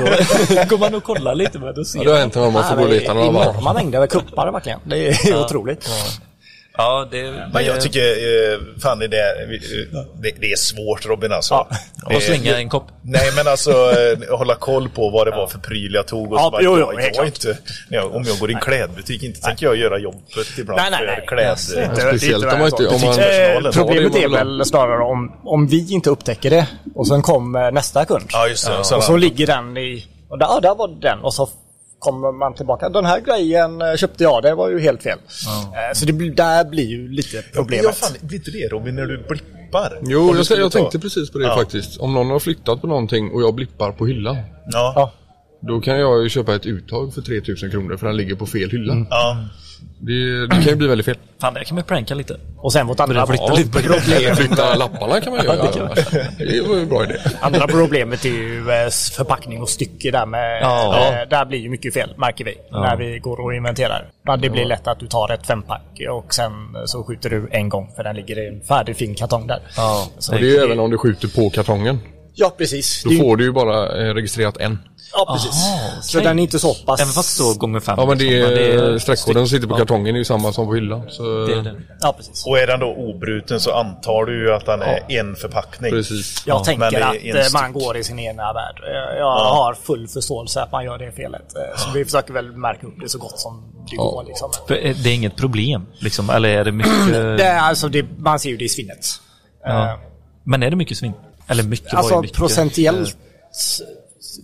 B: då <laughs> går man och kollar lite men då
H: Det har
B: ser man.
H: Alltså, hänt när man får gå och leta några varv.
G: Enorma mängder med kuppar verkligen. Det är otroligt.
B: Ja, det...
A: Men jag tycker, eh, fan är det, det, det är svårt Robin alltså.
B: Och slänga en kopp.
A: Nej men alltså eh, hålla koll på vad det var för pryl jag tog och så
G: Ja,
A: bara,
G: jo, jo,
A: jag,
G: helt
A: jag
G: klart.
A: inte, nej, om jag går i en klädbutik inte tänker jag göra jobbet ibland
G: Nej, nej,
A: för
G: nej.
A: kläd...
G: Inte-
H: Speciellt
G: inte
H: om man inte- om man-
G: Eh, Problemet
H: Ja, det
G: är
H: var väl-
G: väl snarare om, om vi inte upptäcker det och sen kommer nästa kund.
A: Ja just det,
G: Och
A: sådana.
G: så ligger den i... Och där, ja, där var den. Och så kommer man tillbaka. Den här grejen eh, köpte jag, det var ju helt fel. Eh, Så det, blir- där blir ju lite
A: Ja,
G: problemet.
A: fan, blir inte det Robin när du blippar? Om
H: Jo,
A: du
H: jag,
A: skulle
H: jag
A: ta-
H: tänkte precis på det
A: Ja.
H: faktiskt. Om någon har flyttat på någonting och jag blippar på hyllan.
A: Ja.
H: Då kan jag ju köpa ett uttag för 3000 kronor för den ligger på fel hylla.
A: ja.
H: Det, det kan ju bli väldigt fel.
B: Fan, där kan man ju pranka lite.
G: Och sen vårt andra,
H: Problem. Flytta lapparna kan man ju göra. Det var ju en bra idé.
G: andra problemet är ju eh, förpackning och stycke där med...
B: Ja.
G: eh, Där blir ju mycket fel, märker vi, när vi går och inventerar. Men det blir lätt att du tar ett fempack och sen eh, så skjuter du en gång för den ligger i en färdig fin kartong där.
B: Ja.
G: Så
H: Och det är ju även om du skjuter på kartongen.
G: Ja, precis.
H: Då
G: Det är ju-
H: får du ju bara eh, registrerat en.
G: Ja, precis. Så den är inte så pass...
B: Även fast så gånger fem.
H: Ja men det
B: liksom,
H: är streckkoden som sitter på kartongen är ju samma som på hyllan. Så
B: Det är det.
G: Ja, precis.
A: Och är den då obruten så antar du ju att den är en förpackning.
H: precis.
G: Jag
A: men det är
G: tänker att
A: en
G: eh, man
A: styck.
G: går i sin egna värld. Eh, Jag har full förståelse att man gör det felet. Eh, Så vi försöker väl märka upp det så gott som det går. Liksom.
B: För, eh, Det är inget problem, liksom. Eller är det mycket...
G: Det, är alltså, det, man ser ju det i svinnet. Eh,
B: ja. Men är det mycket svinn? Eller mycket var ju
G: Alltså
B: mycket.
G: procentuellt... s- s-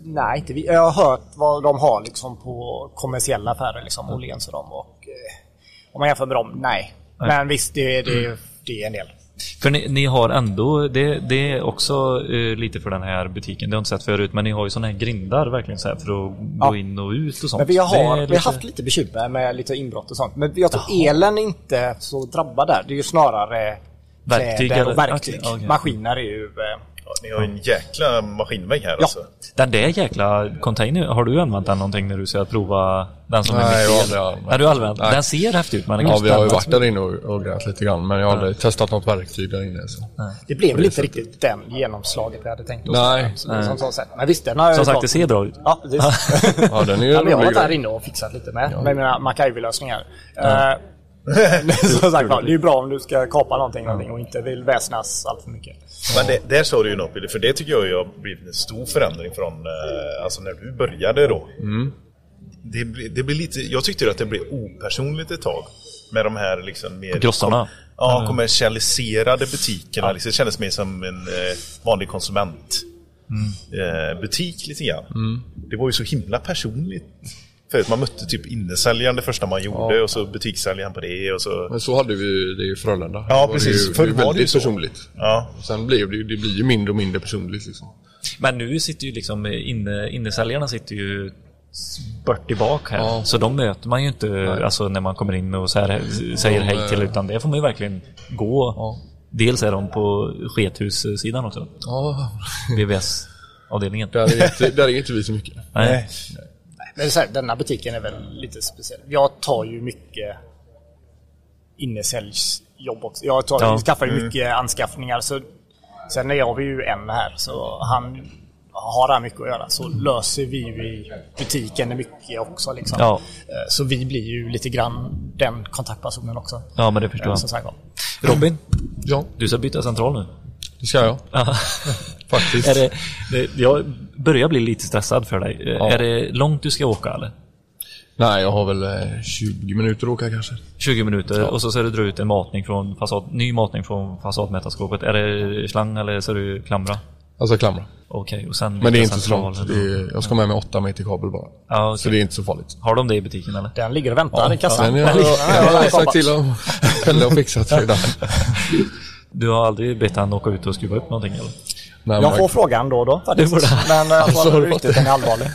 G: Nej, inte vi. Jag har hört vad de har liksom, på kommersiella affärer, liksom,
B: Mm.
G: Åhléns och dem. Och, eh, om man jämför med dem, nej. Men visst, det,
B: Mm.
G: det, det är en del.
B: För ni, ni har ändå, det, det är också eh, lite för den här butiken, det har jag inte sett förut, men ni har ju sådana här grindar verkligen så här för att gå
G: Ja.
B: in och ut och sånt.
G: Men vi
B: Det
G: har,
B: är
G: vi har haft lite bekymmer med lite inbrott och sånt. Men jag tror elen är inte så drabbad där. Det är ju snarare
B: Verktyg
G: kläder
B: eller-
G: och verktyg.
B: okej, okej.
G: Maskiner är ju... eh,
A: Ja, ni har ju en jäkla maskinvägg här
G: Ja.
A: alltså.
B: Den där jäkla containern, har du använt den någonting när du ska prova den som
H: Nej,
B: är
H: jag har
B: mitt
H: aldrig använt
B: Nej, du har använt den.
H: Nej.
B: Den ser häftig ut men den
H: Ja,
B: kanske
H: vi har ju
B: inte
H: varit
B: används.
H: där inne och, och grävt lite grann men jag har aldrig testat något verktyg där inne. Så.
G: Det blev väl inte riktigt den genomslaget vi hade tänkt oss.
H: Nej.
G: Som, som, som sagt. Men visst, den har
B: Som
G: jag
B: sagt,
G: klart-
B: det ser bra ut.
G: Ja, precis.
B: <laughs>
G: <laughs>
H: Ja, den är ju
G: Ja,
H: en
G: men jag har
H: rolig
G: varit här
H: grej.
G: inne och fixat lite med, med mina MacGyver-lösningar. Eh, <laughs> som sagt var, det är ju bra om du ska kapa någonting, någonting och inte vill väsnas allt för mycket.
A: Men det, där sa du ju något Billy, för det tycker jag ju har blivit en stor förändring från eh, alltså när du började då. Det, blir- det blir lite, jag tyckte ju att det blev opersonligt ett tag. Med de här liksom mer...
B: Grossarna.
A: Ja, kommersialiserade butikerna. Liksom, det kändes mer som en eh, vanlig konsument. Eh, butik lite grann. Det var ju så himla personligt. Förut man mötte typ innesäljaren det första man gjorde och så butikssäljaren på det och så...
H: Men så hade vi ju det i Frölunda.
A: Ja,
H: Då var det
A: precis.
H: Ju,
A: Förr
H: det är
A: var det ju
H: väldigt
A: så.
H: personligt.
A: Ja.
H: Sen blev det, ju- det blir ju mindre och mindre personligt liksom.
B: Men nu sitter ju liksom inne, innesäljarna sitter ju bort tillbaka här.
H: Ja.
B: Så de möter man ju inte alltså, när man kommer in och så här, säger
H: De,
B: hej till
H: eh,
B: utan det får man ju verkligen gå.
H: Ja.
B: Dels är de på skethussidan också.
H: Ja,
B: VVS-avdelningen.
H: där är, inte, där är inte vi så mycket.
B: Nej.
G: Men så här, denna butiken är väl lite speciell. Jag tar ju mycket innesäljsjobb också. Jag tar,
B: Ja.
G: skaffar ju mycket anskaffningar. Så, sen är jag ju en här, så han har han mycket att göra. Så löser vi ju i butiken mycket också. Liksom.
B: Ja.
G: Eh, Så vi blir ju lite grann den kontaktpersonen också.
B: Ja, men det förstår
G: Eh,
B: jag.
G: Som sagt, var.
B: Robin,
H: Ja,
B: du ska byta central nu.
H: det ska jag.
B: <laughs>
H: Faktiskt.
B: Är det, det, jag börjar bli lite stressad för dig. Eh,
H: Ja.
B: Är det långt du ska åka eller?
H: Nej, jag har väl eh, 20 minuter att åka kanske.
B: 20 minuter och så ska du dra ut en matning från fasad, ny matning från fasadmätarskåpet. Är det slang eller ska du klamra?
H: Alltså klamra.
B: Okej, och sen...
H: Men det är
B: byta
H: inte så
B: central.
H: långt. Det är, jag ska med mig 8 meter kabel bara.
B: Ja, okej.
H: Så det är inte så farligt.
B: Har de det i butiken eller?
G: Den ligger och väntar i kassan.
H: Men jag, jag, jag har sagt till dem. Pelle har fixat redan.
B: Du har aldrig bett han åka ut och skruva upp någonting eller?
H: Nej,
G: Jag
H: men-
G: får frågan då och då faktiskt.
B: Det borde-
G: Men eh,
H: Alltså,
G: alltså,
H: har du fått
G: ryktet den är allvarlig.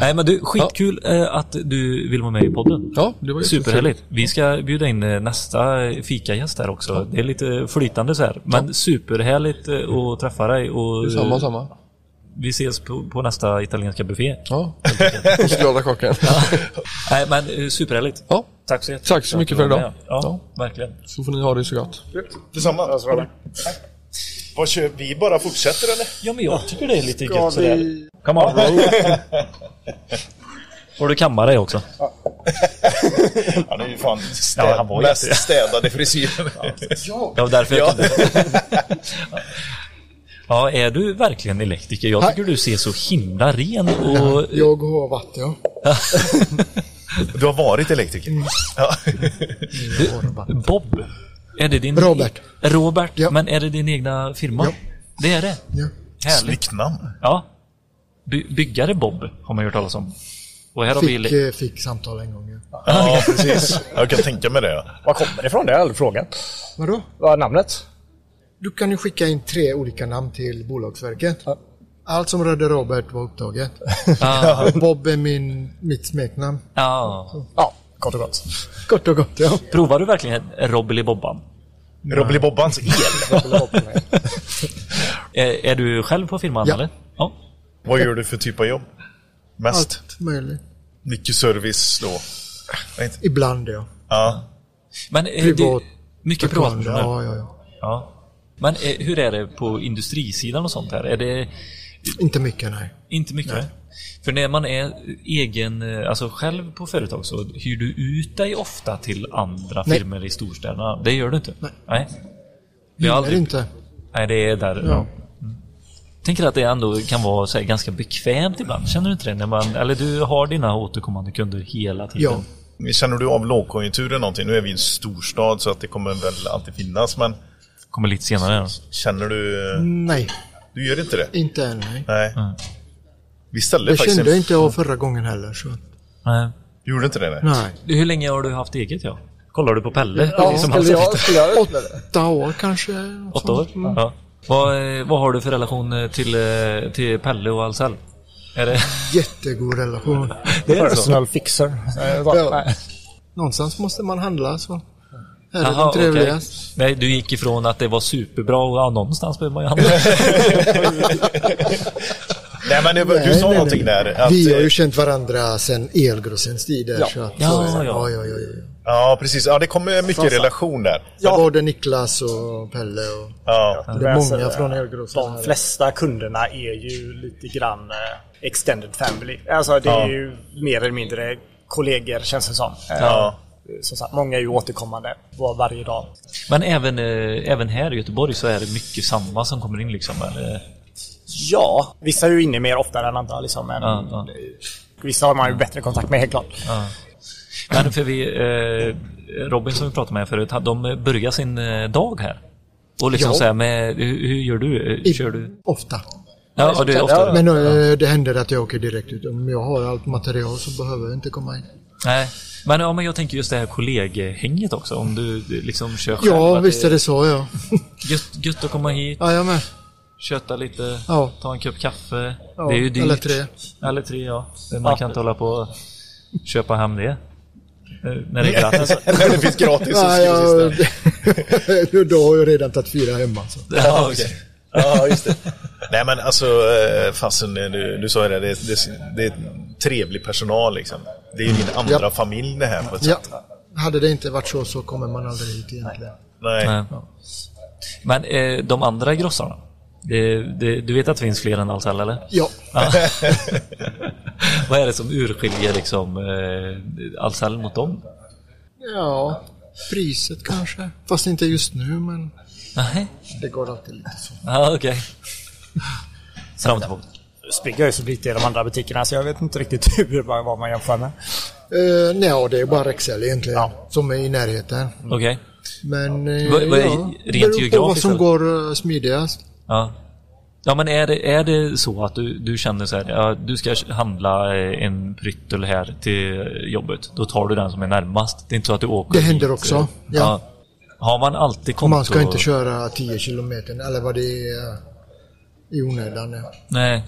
B: Nej men du, skitkul eh, att du vill vara med i podden.
H: Ja, det var ju
B: Superhärligt. Vi ska bjuda in eh, nästa fikagäst här också. Det är lite flytande så här. Men superhärligt eh, att träffa dig och eh,
H: Samma, samma.
B: vi ses på, på nästa italienska buffé.
H: Ja, hos glada kocken.
B: Nej men eh, superhärligt.
H: Ja,
B: Tack så jättemycket.
H: tack så mycket för
B: att du var
H: idag.
B: med. Ja,
H: Ja,
B: verkligen.
H: så får ni ha det så gott.
A: Detsamma. Vad kör vi? Bara fortsätter eller?
B: Ja men jag tycker det är lite gött sådär. Come on Ro. Får du kammare också?
A: Han är ju fan städ,
B: Ja, han var ju
A: mest <laughs> städade frisyren.
B: Ja, därför jag
A: Ja.
B: kunde. <laughs> Ja, är du verkligen elektriker? Jag tycker du ser så himla ren och...
I: Jag har varit ja.
A: Du har varit elektriker? <laughs> Ja.
B: Bob? Är det din...
I: Robert.
B: Robert,
I: Ja.
B: men är det din egna firma?
I: Ja.
B: Det är det?
I: ja.
B: Härligt.
A: Snyggt namn.
B: Ja. By byggare Bob har man hört talas om. Och här har vi...
I: Fick,
B: ele-
I: eh, fick samtal en gång. Ja.
A: Ja, precis. Jag kan tänka mig det.
G: Var kommer det ifrån? Det har jag aldrig frågat.
I: Vadå?
G: Vad är namnet?
I: Du kan ju skicka in tre olika namn till Bolagsverket. Allt som rörde Robert var upptaget.
B: Ah.
I: Bob är min, mitt smeknamn.
B: Ja.
G: Ja, kort och gott.
I: Kort och gott, ja.
B: Provar du verkligen Robbeli-Bobban?
A: Robbly Bobbans el.
B: Är, är du själv på firman
I: Ja.
B: eller? Ja.
A: Vad gör du för typ av jobb? Mest?
I: Allt möjligt.
A: Mycket service då? Nej, inte-
I: Ibland, ja.
A: Ja.
B: Men eh,
I: Privat-
B: det, mycket privatpersoner. Ja.
I: Ja, ja, ja.
B: Men eh, hur är det på industrisidan och sånt här? Är det
I: Inte mycket, nej.
B: inte mycket? För när man är egen, eh, alltså själv på företag så hyr du ut dig ofta till andra
I: Nej.
B: firmor i storstäderna. Det gör du inte? Nej. Nej, Vi har
I: Gillar
B: aldrig-
I: inte.
B: Nej det är där. Ja. Mm. Tänker att det ändå kan vara så här, ganska bekvämt ibland. Känner du inte det? När man, eller du har dina återkommande kunder hela tiden?
I: Ja.
A: Känner du av lågkonjunkturen någonting? Nu är vi i en storstad så att det kommer väl alltid finnas, men
B: Kommer lite senare.
A: känner du...
I: Nej,
A: Du gör inte det?
I: inte än, nej.
A: Nej. Vi ställde
I: Det
A: faktiskt...
I: kände jag
A: en...
I: inte av förra gången heller, så
B: Nej.
A: Du gjorde inte det? Nej.
I: nej.
B: Hur länge har du haft eget ja? Kollar du på Pelle? som han
G: skulle
B: sa?
G: jag, skulle jag utmärka det?
I: Åtta år kanske. något
B: Åtta år?
I: sånt.
B: Ja. Vad, eh, vad har du för relation eh, till, eh, till Pelle och Ahlsell? Är det...
I: Jättegod relation.
G: det Personal fixer. Eh, va- nej.
I: Någonstans måste man handla, så. Här är
B: Jaha,
I: det
B: okej.
I: trevligast.
B: Nej, du gick ifrån att det var superbra och ja, någonstans behöver man
I: <laughs>
B: ju handla.
A: Nej, men du, du
I: Nej,
A: sa
I: nej,
A: någonting
I: nej.
A: där. Att,
I: Vi har
A: eh,
I: ju känt varandra sedan elgrossens tider. Så att,
B: Ja,
I: så är det. ja,
B: ja.
I: ja, ja, ja.
A: Ja, precis. Ja, det kommer mycket relation där.
I: ja. Både Niklas och Pelle och
A: Ja.
I: det är
G: Men
I: många
G: sen,
I: från
G: eh,
I: elgrossen.
G: De
I: här.
G: flesta kunderna är ju lite grann eh, extended family. Alltså det
A: Ja.
G: är ju mer eller mindre kollegor känns det som. Eh,
A: Ja.
G: Som sagt, många är ju återkommande var- varje dag.
B: Men även, eh, även här i Göteborg så är det mycket samma som kommer in liksom. Eller?
G: Ja, vissa är ju inne mer oftare än andra liksom. Men
B: Ja, ja.
G: vissa har man ju bättre kontakt med helt klart.
B: Men för vi, eh, Robin som vi pratade med förut, han- de börjar sin eh, dag här. Och liksom
I: Ja.
B: så här med, hur, hur gör du? Eh,
I: I-
B: Kör du?
I: Ofta.
B: Ja, ja, du är ofta
I: Men eh, det händer att jag åker direkt ut. Om jag har allt material så behöver jag inte komma in.
B: Nej. Men, ja, men jag tänker just det här kolleghänget också. Om du liksom kör själv.
I: Ja,
B: att
I: visst är
B: det.
I: det så ja.
B: Gött, gött att komma hit,
I: Ja, jag med.
B: köta lite,
I: Ja.
B: ta en kopp kaffe.
I: Ja,
B: det är ju dyrt.
I: eller tre.
B: Eller tre, ja. Man kan inte hålla på och köpa hem det. Eh, När det
I: <laughs>
B: är gratis.
A: Nej, <laughs> det finns gratis.
I: Ja, jag... <laughs> Då har jag redan tagit fyra hemma. Så.
B: ja, okej.
A: Ja, just det. Nej, men alltså, eh, fasen, eh, du, du sa ju det, det, det, det är trevlig personal liksom. Det är ju din andra
I: Mm. Ja.
A: familj det här på ett
I: Ja.
A: sätt.
I: Hade det inte varit så så kommer man aldrig hit egentligen.
A: Nej.
B: Nej. Men eh, de andra grossarna? Det, det, du vet att det finns fler än Ahlsell, eller?
I: Ja,
B: Vad är det som urskiljer liksom, eh, Ahlsell mot dem?
I: ja. Priset kanske. Fast inte just nu men
B: Nej,
I: det går alltid lite så.
B: ja, okej. Fram och tillbaka.
G: Springer jag ju så lite i de andra butikerna så jag vet inte riktigt <laughs> hur, vad vad man jämför med.
I: Uh, nej, det är bara Rexel egentligen som är i närheten.
B: Okej.
I: Men eh,
B: Vad- vad är
I: ja,
B: rent
I: beror på vad
B: geografiskt,
I: som
B: eller?
I: går eh, smidigast.
B: Ja. Ja men är det, är det så att du, du känner så här, ja, du ska handla eh, en pryttel här till jobbet. Då tar du den som är närmast. Det är inte så att du åker
I: Det händer
B: dit,
I: också,
B: eh,
I: ja.
B: Har man alltid konto?
I: Man ska inte köra 10 kilometer eller vad det är eh, i onödan. ja.
B: Nej.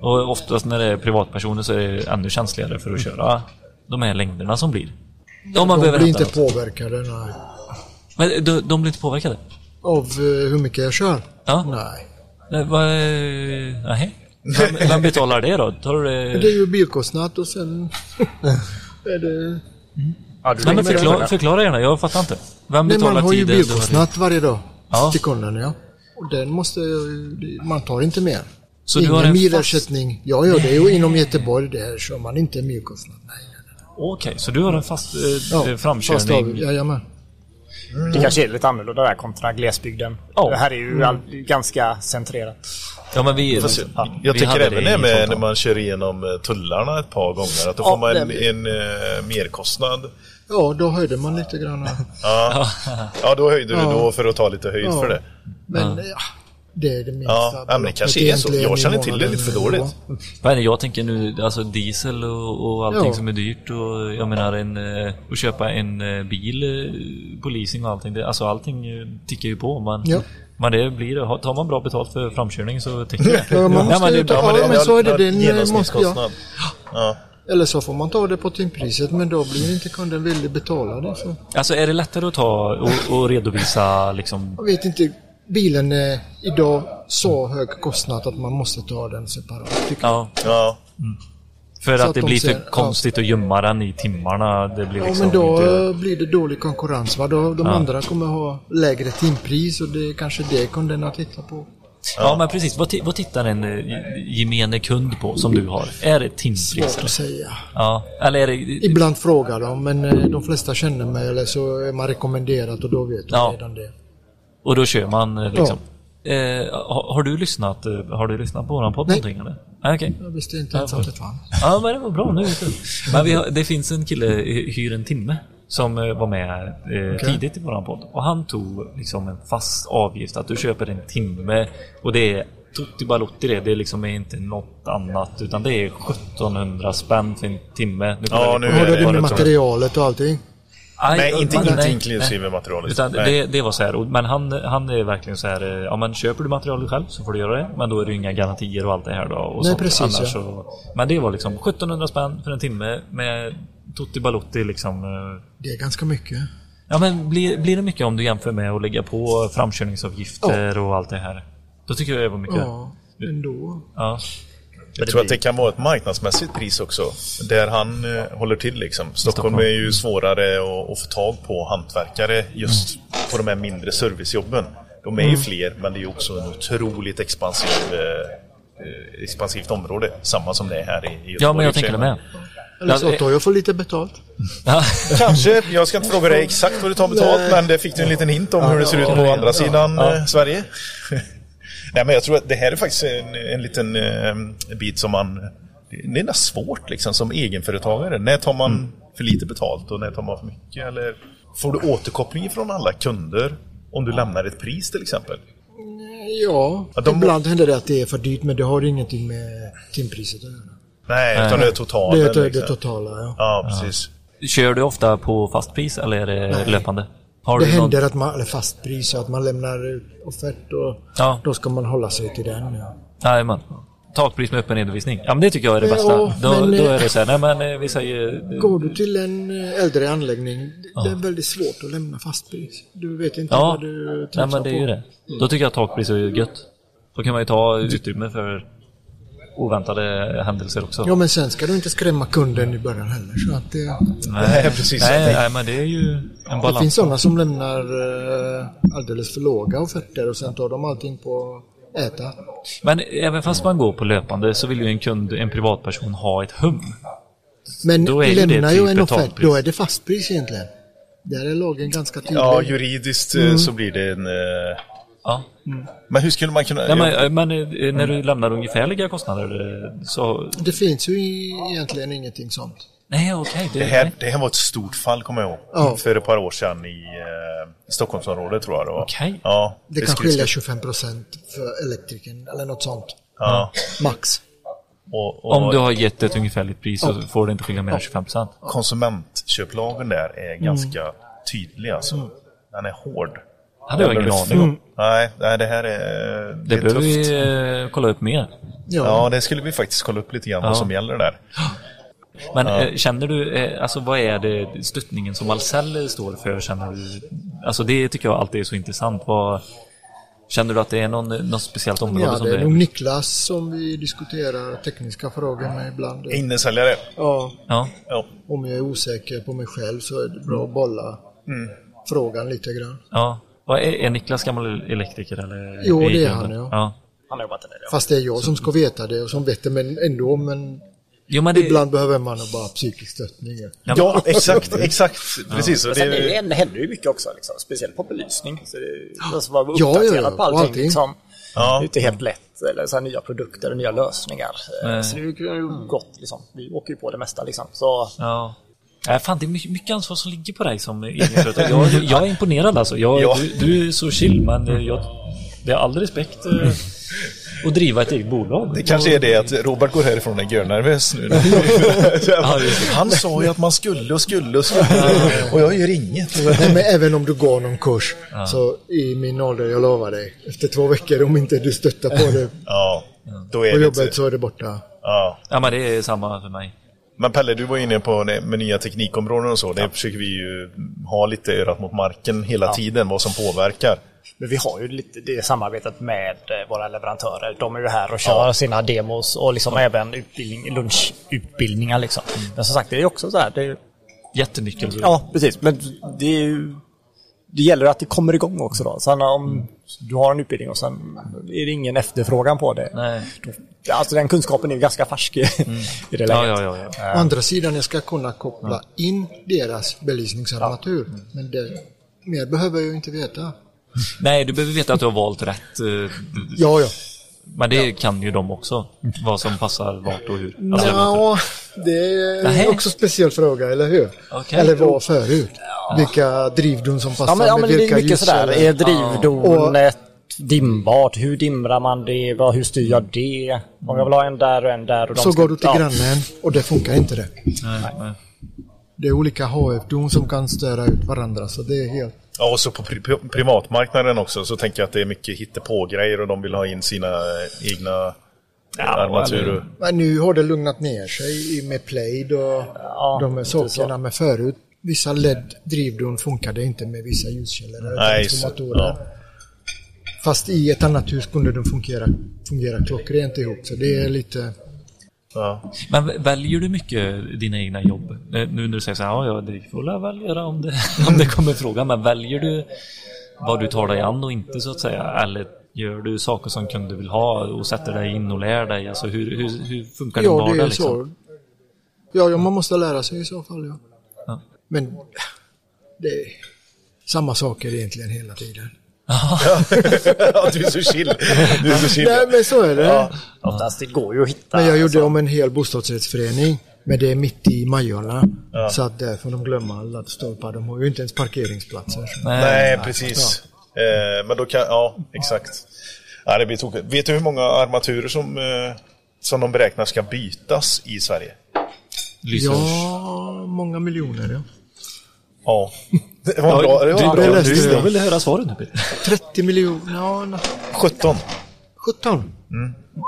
B: Och oftast när det är privatpersoner så är det ännu känsligare för att köra de här längderna som blir. Om man
I: De
B: behöver
I: blir
B: hämta
I: inte
B: något.
I: påverkade nej.
B: Men de, de blir inte påverkade?
I: av eh, hur mycket jag kör.
B: Ja.
I: Nej.
B: Nej, vad... Nej. Vem, vem betalar det då? Tar du det...
I: Det är ju bilkostnad och sen <laughs> är det...
B: Nej, men förklara, förklara gärna, jag fattar inte. Vem
I: Nej,
B: betalar
I: man har ju
B: tiden? du har-
I: bilkostnad varje dag
B: Ja.
I: till kunden. Ja. Och den måste, man tar inte mer.
B: Så du har
I: Ingen
B: en fast...
I: milersättning. Jag gör det ju inom Göteborg. Där kör man inte merkostnad. Nej.
B: Okej, så du har en fast eh, eh,
I: fast av-
B: framkörning.
I: Jajamän.
G: Det kanske är lite annorlunda där kontra glesbygden.
B: Ja.
G: Det här är ju all, ganska centrerat.
B: Ja, men vi...
A: Fast jag- jag
B: vi
A: tänker
B: hade
A: även
B: det i
A: det med
B: Frontal.
A: när man kör igenom eh, tullarna ett par gånger, att då
G: Ja,
A: får man en,
G: det-
A: en eh, merkostnad.
I: Ja, då höjde man lite grann.
A: Ja. ja, då höjde du
I: Ja.
A: då för att ta lite höjd
I: Ja.
A: för det.
I: Men ja, det är det minsta.
A: Ja, men det kanske
I: beloppet
A: är så.
I: egentligen
A: Jag
I: i
A: känner till det
I: månaden.
A: lite för dåligt.
B: Vad är det jag tänker nu? Alltså diesel och, och allting
I: Ja.
B: som är dyrt och jag menar en, eh, att köpa en eh, bil eh, på leasing och allting. Det, alltså allting eh, tickar ju på. Man,
I: Ja.
B: Men det blir det. Har- Tar man bra betalt för framkörning så
I: <laughs>
B: täcker det.
I: Ja, man måste
B: Ja, men
I: ju
B: det-
I: ta, ja, men så är eh, det. det är- måste, ja.
A: Genomsnittskostnad. Ja.
I: Eller så får man ta det på timpriset, men då blir inte kunden villig betala det. Så.
B: Alltså är det lättare att ta och, och redovisa liksom?
I: Jag vet inte, bilen är idag så hög kostnad att man måste ta den separat. tycker jag.
B: Ja,
A: Ja.
B: för
I: Så
B: att,
I: att
B: det
I: de
B: blir
I: ser-
B: för
I: ja.
B: konstigt att gömma den i timmarna. Det blir
I: Ja,
B: liksom
I: men då
B: inte...
I: eh, blir det dålig konkurrens. Va? Då, de andra kommer ha lägre timpris och det är kanske det kunderna tittar på.
B: Ja, men precis. Vad, ti- vad tittar en eh, gemene kund på som du har? Är det timpriser?
I: Svårt att säga.
B: Ja, eller är det...
I: Ibland frågar de, men eh, de flesta känner mig eller så är man rekommenderad och då vet de
B: Ja.
I: redan det.
B: Och då kör man eh, liksom. Eh, har, har, du lyssnat, eh, har du lyssnat på våran podd
I: Nej.
B: någonting eller? Nej, okej.
I: Jag visste inte ens att det fanns.
B: Ja, men det var bra. Nu vet du. Men vi har, det finns en kille, eh, Hyr en timme, som eh, var med eh, tidigt i våran podd. Och han tog liksom en fast avgift att du köper en timme och det är Tutti Balotti det. Det är liksom inte något annat utan det är 1700 spänn för en timme. Nu kollar
A: Ja,
B: vi
A: nu
B: på
A: är
I: Har
B: vad
A: det
I: du med
B: var tror jag.
I: materialet och allting?
B: Aj,
A: Nej, inte,
B: man-
A: inte
B: nej,
A: inklusive materialet.
B: Utan
A: Nej.
B: det, det var så här, och- men han, han är verkligen så här, eh, ja men köper du materialet själv så får du göra det, men då är det ju inga garantier och allt det här då. Och
I: Nej,
B: sånt.
I: precis,
B: Annars
I: ja.
B: så, men det var liksom 1700 spänn för en timme med Tutti Balotti liksom. eh,
I: Det är ganska mycket.
B: Ja men blir, blir det mycket om du jämför med att lägga på framkörningsavgifter och allt det här? Då tycker jag det var mycket. Ja.
I: Ja, ändå.
A: Jag tror att det kan vara ett marknadsmässigt pris också, där han eh, håller till. Liksom. Stockholm är ju svårare att, att få tag på hantverkare just på de här mindre servicejobben. De är
B: Mm.
A: ju fler, men det är ju också en otroligt expansiv, eh, eh, expansivt område, samma som det är här i i Göteborg.
B: Ja, men
A: i och
B: jag
A: för sig.
B: tänker det med.
I: Eller så
B: Ja, det-
I: tar jag för lite betalt.
A: Kanske, jag ska inte fråga dig exakt vad du tar betalt, men det fick du en liten hint om hur det ser ut på andra sidan eh, Sverige. <laughs> Nej, men jag tror att det här är faktiskt en, en liten eh, bit som man... Det är nästan svårt liksom som egenföretagare. När tar man för lite betalt och när tar man för mycket? Eller får du återkoppling från alla kunder om du lämnar ett pris till exempel?
I: Ja,
A: Ja, de må-
I: ibland händer det att det är för dyrt men det har ingenting med timpriset att göra.
A: Nej, utan det är
I: Det
A: totalen.
I: är det, det
A: liksom.
I: totala, ja.
A: Ja, precis.
B: <laughs> Kör du ofta på fastpris eller är det löpande? Har
I: Det
B: du någon-
I: händer att man, eller fast pris, att man lämnar ut offert och
B: Ja.
I: då ska man hålla sig till den. Ja.
B: Jajamän. Takpris med öppen redovisning. Ja men det tycker jag är det bästa.
I: Ja,
B: då,
I: men,
B: då
I: eh,
B: är det så här, nej men eh, vi säger... eh,
I: Går du till en eh, äldre anläggning, det- det är väldigt svårt att lämna fast pris. Du vet inte
B: Ja,
I: vad du
B: nej
I: tafsar
B: men det är ju
I: på. Mm.
B: det. Då tycker jag takpris är gött. Då kan man ju ta utrymme för oväntade händelser också.
I: Ja, men sen ska du inte skrämma kunden i början heller. Så att det, <laughs>
A: Nej, precis.
B: Nej, nej men det är ju en
I: det
B: balans.
I: finns sådana som lämnar eh, alldeles för låga offerter och sen tar de allting på äta.
B: Men även fast man går på löpande så vill ju en kund, en privatperson ha ett hum.
I: Men
B: Då är ju det
I: lämnar
B: typ
I: jag en
B: ett
I: offert,
B: takpris.
I: då är det fastpris egentligen. Där är lagen ganska tydlig.
A: Ja, juridiskt eh, så blir det en... eh,
B: Ja.
A: Men hur skulle man kunna...
B: Nej, men, eh, men eh, när du lämnar ungefärliga kostnader eh, så...
I: Det finns ju i- egentligen ingenting sånt.
B: Nej okej.
A: Det
B: det,
A: här, det här var ett stort fall kommer jag ihåg.
I: Ja.
A: För ett par år sedan i eh, Stockholmsområdet tror jag det var.
B: Okej.
A: Ja,
I: Det kan
A: skulle-
I: skilja 25 procent för elektrikern eller något sånt.
A: Ja.
I: Max.
A: Och, och
B: Om du har gett ett ungefärligt pris så får du inte skilja mer än 25%.
A: Konsumentköplagen där är
B: Mm.
A: ganska tydlig alltså. Den är hård.
B: Hade jag ingen
A: Eller-
B: aning om.
A: Nej, nej, det här är,
B: Det,
A: det är
B: behöver
A: tufft.
B: vi eh, kolla upp mer.
I: Ja.
A: Ja, det skulle vi faktiskt kolla upp lite grann vad som gäller där.
B: Men eh, känner du, eh, alltså vad är det stöttningen som Ahlsell står för? Känner du, alltså det tycker jag alltid är så intressant. Vad, känner du att det är någon, något speciellt område
I: Ja,
B: som
I: det är
B: det
I: nog Niklas som vi diskuterar tekniska frågor med ibland.
A: Innesäljare.
I: Ja,
B: Ja,
A: Ja.
I: om jag är osäker på mig själv så är det bra
A: Mm.
I: att bolla frågan lite grann.
B: ja. Vad är, är Niklas gammal elektriker eller?
I: Jo,
B: i
I: det är han,
B: grunden?
I: ja.
B: ja.
G: Han har jobbat en del. ja.
I: Fast det är jag som ska veta det och som vet det men ändå men
B: Jo, men det,
I: ibland behöver man bara psykisk stöttning.
A: Ja, exakt, exakt. Precis. Och
G: Men sen
A: det,
G: är det, händer ju mycket också, liksom, speciellt på belysning. Så det är någon som var
I: Ja,
G: uppdaterad
I: ja, ja,
G: på
I: och
G: allting.
I: allting.
G: Liksom. Det är
A: ja,
G: inte helt lätt. Eller så här, nya produkter och nya lösningar. Eh, Så det är ju gott. Liksom. Vi åker ju på det mesta. Liksom. Så,
B: Ja. Nej, fan, det är mycket mycket ansvar som ligger på dig som egenföretagare. Jag, jag är imponerad alltså. Jag,
A: Ja.
B: du, du är så chill, men eh, jag, det är all respekt eh, att driva ett eget bolag.
A: det kanske är det att Robert går härifrån och är görnervös <laughs> nu. Han sa ju att man skulle och skulle och skulle. Och jag gör inget.
I: Nej, men även om du går någon kurs så i min ålder, jag lovar dig, efter två veckor om inte du stöttar på det
A: Ja, då är
I: på
A: det
I: jobbet
A: inte...
I: så är det borta.
A: Ja.
B: Ja, men det är samma för mig.
A: Men Pelle, du var inne på det med nya teknikområden och så. Det försöker vi ju ha lite örat mot marken hela tiden, vad som påverkar.
G: men vi har ju lite det samarbetet med eh, våra leverantörer. De är ju här och kör sina demos och liksom även utbildning, lunchutbildningar. Liksom. Men som sagt, det är ju också så här. Det är, ju-
B: Jättenyckel.
G: Ja, precis. Men det, är ju, det gäller att det kommer igång också. Då. Sen om du har en utbildning och sen är det ingen efterfrågan på det.
B: Nej. Mm.
G: Då- Alltså den kunskapen är ju ganska färsk i, <laughs> i det läget.
B: Ja, ja, ja, ja.
I: Å andra sidan, jag ska kunna koppla in deras belysningsarmatur. Men det, mer behöver jag ju inte veta.
B: Nej, du behöver veta att du har valt rätt. eh,
I: Ja, ja.
B: Men det kan ju de också. Vad som passar vart och hur. Alltså,
I: Nja, det är
B: Nej.
I: också en speciell fråga, eller hur?
B: Okej.
I: Eller var förut. Vilka drivdon som passar
G: Ja, men, ja, men
I: med
G: det är
I: vilka
G: mycket sådär. Är
I: ljuskällor.
G: drivdonet dimbart? Hur dimrar man det? Vad- Hur styr jag det? Om jag vill ha en där och en där. Och de
I: Så
G: ska-
I: går du till
G: ja.
I: grannen och det funkar inte det.
B: nej, nej.
I: Det är olika HF-don som kan störa ut varandra, så det är helt...
A: Ja, och så på pri- privatmarknaden också så tänker jag att det är mycket hittepågrejer och de vill ha in sina eh, egna ja, armaturer.
I: Men nu har det lugnat ner sig i- med Plaid och de här sakerna. Men förut, vissa LED-drivdon funkade inte med vissa ljuskällor eller
A: Nej, så-
I: transformatorer.
A: ja.
I: Fast i ett annat hus kunde de fungera, fungera klockrent ihop, så det är lite...
A: Ja. <laughs>
B: Men väljer du mycket dina egna jobb? Eh, Nu när du säger så här, ja, jag det får jag väl göra om det, <laughs> om det kommer fråga. Men väljer du vad du tar dig an och inte så att säga? Eller gör du saker som kunder vill ha och sätter dig in och lär dig? Alltså hur, hur, hur funkar din
I: Ja,
B: vardag?
I: det är
B: liksom?
I: så. Ja, ja, man måste lära sig i så fall. Ja.
B: Ja.
I: Men det är samma saker egentligen hela tiden.
A: ja, du är så chill. Du är så chill.
I: Nej, men så är det.
G: Oftast det går ju att hitta.
I: Men jag gjorde om en hel bostadsrättsförening. Men det är mitt i Majorna. Så att där får de glömma laddstolpar. De har ju inte ens parkeringsplatser.
A: Nej, precis. Eh, men då kan, ja, exakt. Ja, det blir tokigt. Vet du hur många armaturer som, eh, som de beräknar ska bytas i Sverige?
B: Lyser.
I: Ja, många miljoner ja.
A: Ja, det var bra. Det var
I: det
A: bra.
I: läste
B: Du,
I: jag.
B: jag vill höra svaret nu Peter.
I: 30 miljoner, ja, na-
A: 17.
I: 17?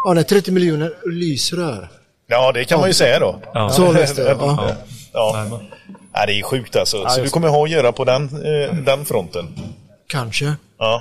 I: Ja, nej, 30 miljoner lysrör.
A: Ja, det kan man ju säga då.
I: Så
A: <laughs>
I: läste jag. Ja.
A: Ja. Nej, det är sjukt alltså. så du kommer ha att göra på den, eh, den fronten.
I: Kanske.
A: Ja.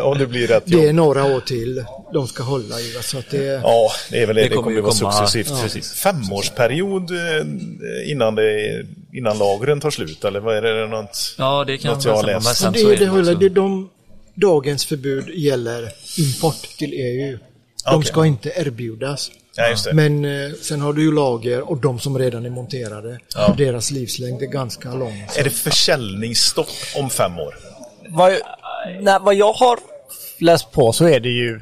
A: <laughs> Om det blir rätt
I: Det
A: jobb.
I: är några år till de ska hålla i. va, Så att det,
A: Ja, det är väl det. Det
B: kommer
A: kommer
B: ju
A: ju vara
B: komma-
A: successivt.
B: ja, precis.
A: Femårsperiod eh, innan, det, innan lagren tar slut, eller vad är det? Något?
B: Ja, det kan
A: Något jag har
B: stämma, men
A: läst.
B: sen
I: det,
B: så alltså-
I: är det,
B: också-
I: håller, det är de, dagens förbud gäller import till EU. De
A: Okej.
I: ska inte erbjudas.
A: Ja, just det.
I: Men eh, sen har du ju lager och de som redan är monterade. Och deras livslängd är ganska lång.
A: Är det försäljningsstopp om fem år?
G: Vad, nej, vad jag har läst på så är det ju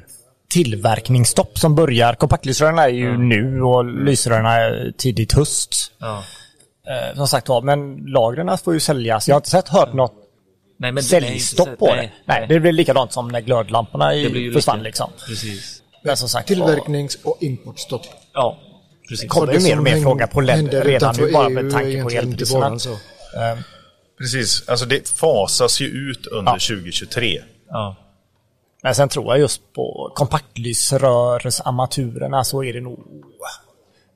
G: tillverkningsstopp som börjar. Kompaktlysrören är ju nu och lysrören är tidigt höst.
B: Ja.
G: Eh, som sagt var, men lagren får ju säljas. Jag har inte sett, hört något
B: Nej, men det är inte så-
G: säljstopp på det. Nej, det blir likadant som när glödlamporna
B: Det blir ju
G: i, försvann
B: lite-
G: liksom.
B: Precis.
G: Men som sagt var,
I: Tillverknings och importstopp.
B: Ja, precis.
G: kommer ju
I: som
G: mer och mer
I: häng-
G: fråga på LED
I: händer
G: redan nu
I: utanför
B: E
G: bara
I: EU
G: med
I: är
G: tanke på
I: egentligen inte
G: elpriserna.
I: varan så.
A: Precis, alltså det fasas ju ut under
G: Ja.
A: 2023.
B: Ja.
G: Men sen tror jag just på kompaktlysrörsarmaturerna så är det nog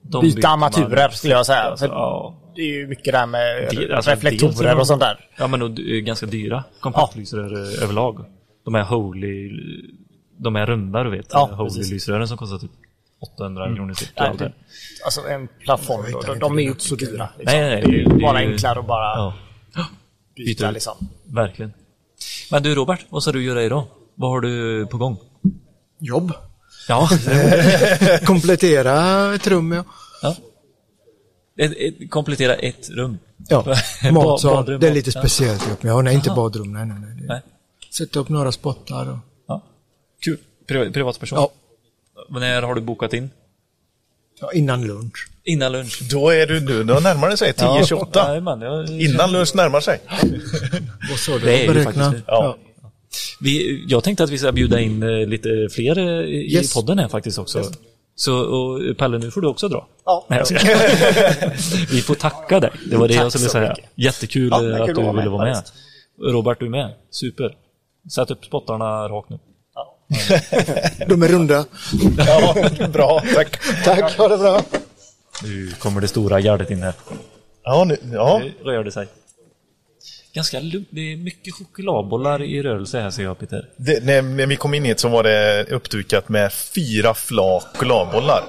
B: De byter
G: byta
B: man.
G: armaturer skulle jag säga. För
B: Ja.
G: Det är ju mycket där med
B: Det- alltså, dels är
G: reflektorer
B: de-
G: och sånt där.
B: Ja men och det är ganska dyra kompaktlysrör eh, överlag. De här holy, de här runda du vet.
G: Ja, precis.
B: Holy-lysrören som kostar typ 800 kronor typ, styck.
G: Nej,
B: Nej,
G: det- Alltså en plafond, då, de, de är ju inte så dyra. Liksom.
B: nej, nej,
G: det är ju bara
B: det är ju-
G: enklare att bara
B: Ja,
G: byta liksom.
B: verkligen. Men du Robert, vad ska du göra idag? Vad har du på gång?
I: jobb.
B: Ja,
I: Komplettera ett rum. Ja.
B: <laughs> ett, ett, komplettera ett rum.
I: Ja,
B: <laughs> Bad-
I: matsal.
B: badrum,
I: Det är lite
B: ja.
I: speciellt jobb. Ja, nej, inte badrum. Nej, nej, nej.
B: Nej.
I: Sätta upp några spottar. Och...
B: Ja. Kul. Pri- privatperson.
I: Ja.
B: Men när har du bokat in?
I: Ja, innan lunch.
B: Innan lunch?
A: Då är du nu, då närmar det sig 10.28.
B: Jajamän, jag-
A: Innan lunch närmar sig.
I: Och så då
B: Det är ju
I: beräkna-
B: faktiskt det.
I: Ja.
B: Vi, jag tänkte att vi ska bjuda in eh, lite fler eh, i
I: Yes.
B: podden här faktiskt också. Så och eh, Pelle, nu får du också dra.
G: Ja.
B: Nej, jag ska. vi får tacka dig. Det var det jag skulle säga. Jättekul eh,
G: Ja, men kul
B: att
G: att
B: du
G: vara med,
B: ville vara med.
G: faktiskt.
B: Robert, du är med. Super. Sätt upp spottarna rakt nu.
I: De är runda.
A: Ja, <laughs> bra, tack.
I: Tack, ha det bra.
B: Nu kommer det stora gardet in här.
A: Ja, nu, ja.
B: Nu rör det sig. Ganska lugnt. Det är mycket chokladbollar i rörelse här ser jag Peter.
A: Det, när, när vi kom in hit så var det uppdukat med fyra flak chokladbollar.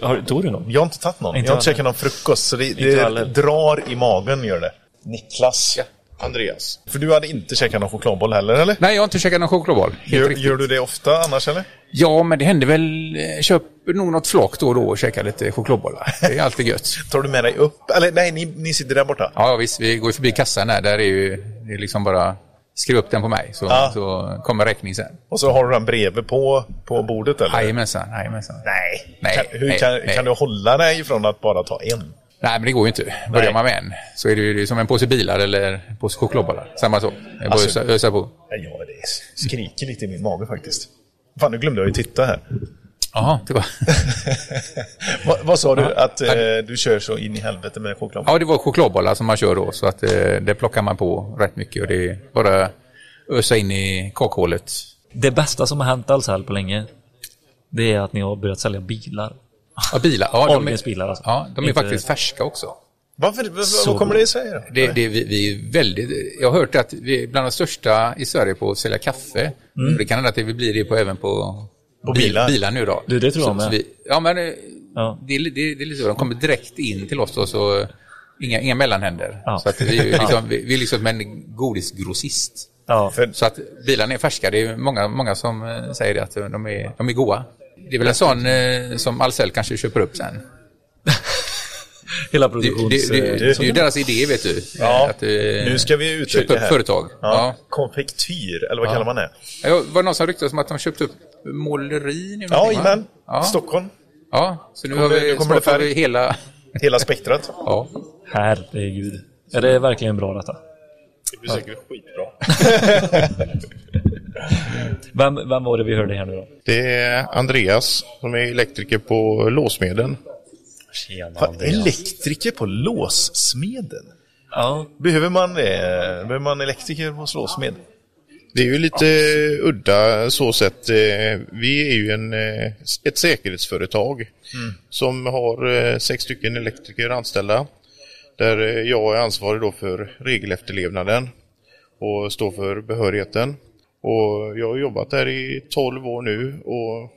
B: Har, tog du någon?
A: Jag har inte tagit någon.
B: Inte
A: jag har
B: jag
A: inte käkat någon frukost, så det,
B: heller.
A: det drar i magen gör det. Niklas. Andreas. För du hade inte käkat någon chokladboll heller, eller?
J: Nej, jag har inte käkat någon chokladboll. Helt
A: Gör,
J: riktigt.
A: gör du det ofta annars, eller?
J: Ja, men det händer väl. eh, Köp nog något flak då och då och käka lite chokladbollar. Det är alltid gött.
A: Tar du med dig upp? Eller nej, ni, ni sitter där borta.
J: <laughs> Ja, ja, visst. Vi går ju förbi kassan där. Där är ju det är liksom bara skriv upp den på mig så,
A: Ja.
J: så kommer räkning sen.
A: Och så har du den bredvid på, på bordet, eller?
J: Jajamensan, jajamensan.
A: Nej.
J: Nej,
A: Kan, hur
J: nej,
A: kan,
J: nej.
A: kan du hålla dig från att bara ta en?
J: Nej, men det går ju inte. Börjar
A: Nej.
J: man med en så är det ju det är som en påse bilar eller en påse chokladbollar. Samma sak. Det är bara att
A: Alltså-
J: ösa, ösa på.
A: Nej, Ja, det skriker lite i min mage faktiskt. Fan, nu glömde jag ju titta här.
J: Jaha, det var... <laughs>
A: Va, vad sa du? Att eh, du kör så in i helvete med choklad?
J: Ja, det var chokladbollar som man kör då. Så att eh, det plockar man på rätt mycket och det är bara ösa in i kakhålet.
B: Det bästa som har hänt alls här på länge. Det är att ni har börjat sälja bilar.
J: Ja, bilar. Ja,
B: Ahlgrens bilar alltså.
J: Ja, de är
B: Inte-
J: faktiskt färska också.
A: Varför? Vad kommer det sig då?
J: Det, det, vi, vi är väldigt, jag har hört att vi är bland de största i Sverige på att sälja kaffe.
B: Mm.
J: Och Det kan hända att vi blir det på, även på,
A: På bilar.
J: bilar nu då.
B: Du, det tror jag
J: så,
B: med.
J: så vi, ja, men eh,
B: Ja.
J: det, är li- det, är- det är lite så. De kommer direkt in till oss då, så eh, inga, inga mellanhänder.
B: Ja.
J: Så att vi, är
B: <laughs>
J: ju liksom, vi, vi är liksom en godisgrossist.
B: Ja,
A: För-
J: Så att bilarna är färska. Det är många, många som eh, säger det, att eh, de är, de är goa. Det är väl en sån eh, som Ahlsell kanske köper upp sen.
B: hela
J: Det,
B: produktions...
J: det, det, det är ju
B: eh,
J: deras idé, vet du.
A: Ja,
J: eh,
A: nu ska vi utöka
J: köpa upp
A: här.
J: företag.
A: Ja.
J: Ja.
A: Konfektyr, eller vad kallar man det?
J: Ja, var det någon som ryktades om att de köpte upp måleri? nu?
A: Ja, jajamän.
J: Ja.
A: Stockholm.
J: Ja, så nu
A: Kommer-
J: har vi,
A: nu kommer det
J: snart har
A: färg.
J: vi hela...
A: Hela spektrat.
J: Ja.
B: Herregud. Är det verkligen bra detta?
A: Det blir säkert skitbra.
B: <laughs> Vem, vem var det vi hörde här nu då?
K: Det är Andreas som är elektriker på låsmedel.
B: Tjena
A: Fan, elektriker på låssmeden?
B: Ja,
A: Behöver man det? Behöver man elektriker på låssmed?
K: Det är ju lite eh, udda så sett. eh, Vi är ju en, eh, ett säkerhetsföretag
A: Mm.
K: som har eh, sex stycken elektriker anställda. Där eh, jag är ansvarig då för regelefterlevnaden och står för behörigheten. Och jag har jobbat där i 12 år nu och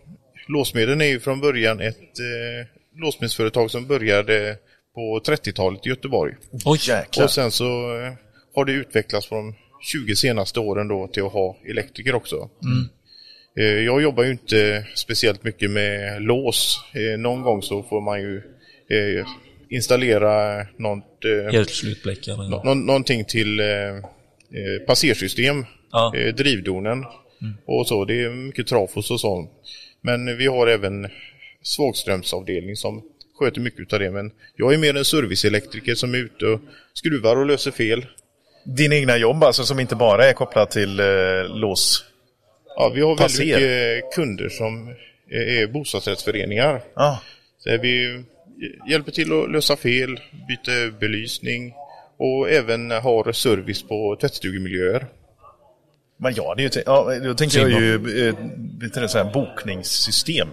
K: Låsmedlen är ju från början ett eh, låsmedsföretag som började på 30-talet i Göteborg.
A: Oj, jäklar.
K: Och sen så eh, har det utvecklats på de 20 senaste åren då till att ha elektriker också. Eh, Jag jobbar ju inte speciellt mycket med lås. Eh, Någon gång så får man ju eh, installera något, eh,
B: helt slutblick. eller-
K: nå- någonting till eh, eh, passersystem,
B: Ja.
K: eh, drivdonen
A: Mm.
K: och så. Det är mycket trafos och sånt. Men vi har även svagströmsavdelning som sköter mycket av det. Men jag är mer en serviceelektriker som är ute och skruvar och löser fel.
A: Dina egna jobb alltså, som inte bara är kopplat till eh, lås?
K: Ja, vi har väldigt
A: Passer.
K: mycket kunder som eh, är bostadsrättsföreningar.
A: Ja.
K: Där vi hjälper till att lösa fel, byter belysning och även har service på tvättstugemiljöer.
A: Men ja, det är ju, te- ja, då tänker jag ju eh, lite det så här bokningssystem.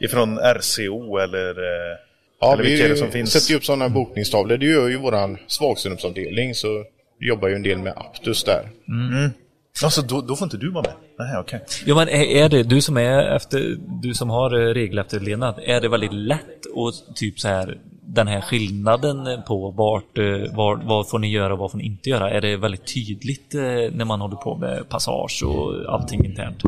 A: Ifrån RCO eller... Eh,
K: Ja,
A: eller vilka är det
K: vi
A: som finns?
K: sätter ju upp sådana bokningstavlor. Det gör ju våran svagströmsavdelning så vi jobbar ju en del med Aptus där.
A: Alltså, då, då får inte du vara med? Nej, okej.
B: Jo men är, är det, du som är efter, du som har eh, regelefterlevnad, är det väldigt lätt att typ så här den här skillnaden på vart, eh, var, vad får ni göra och vad får ni inte göra? Är det väldigt tydligt eh, när man håller på med passage och allting internt?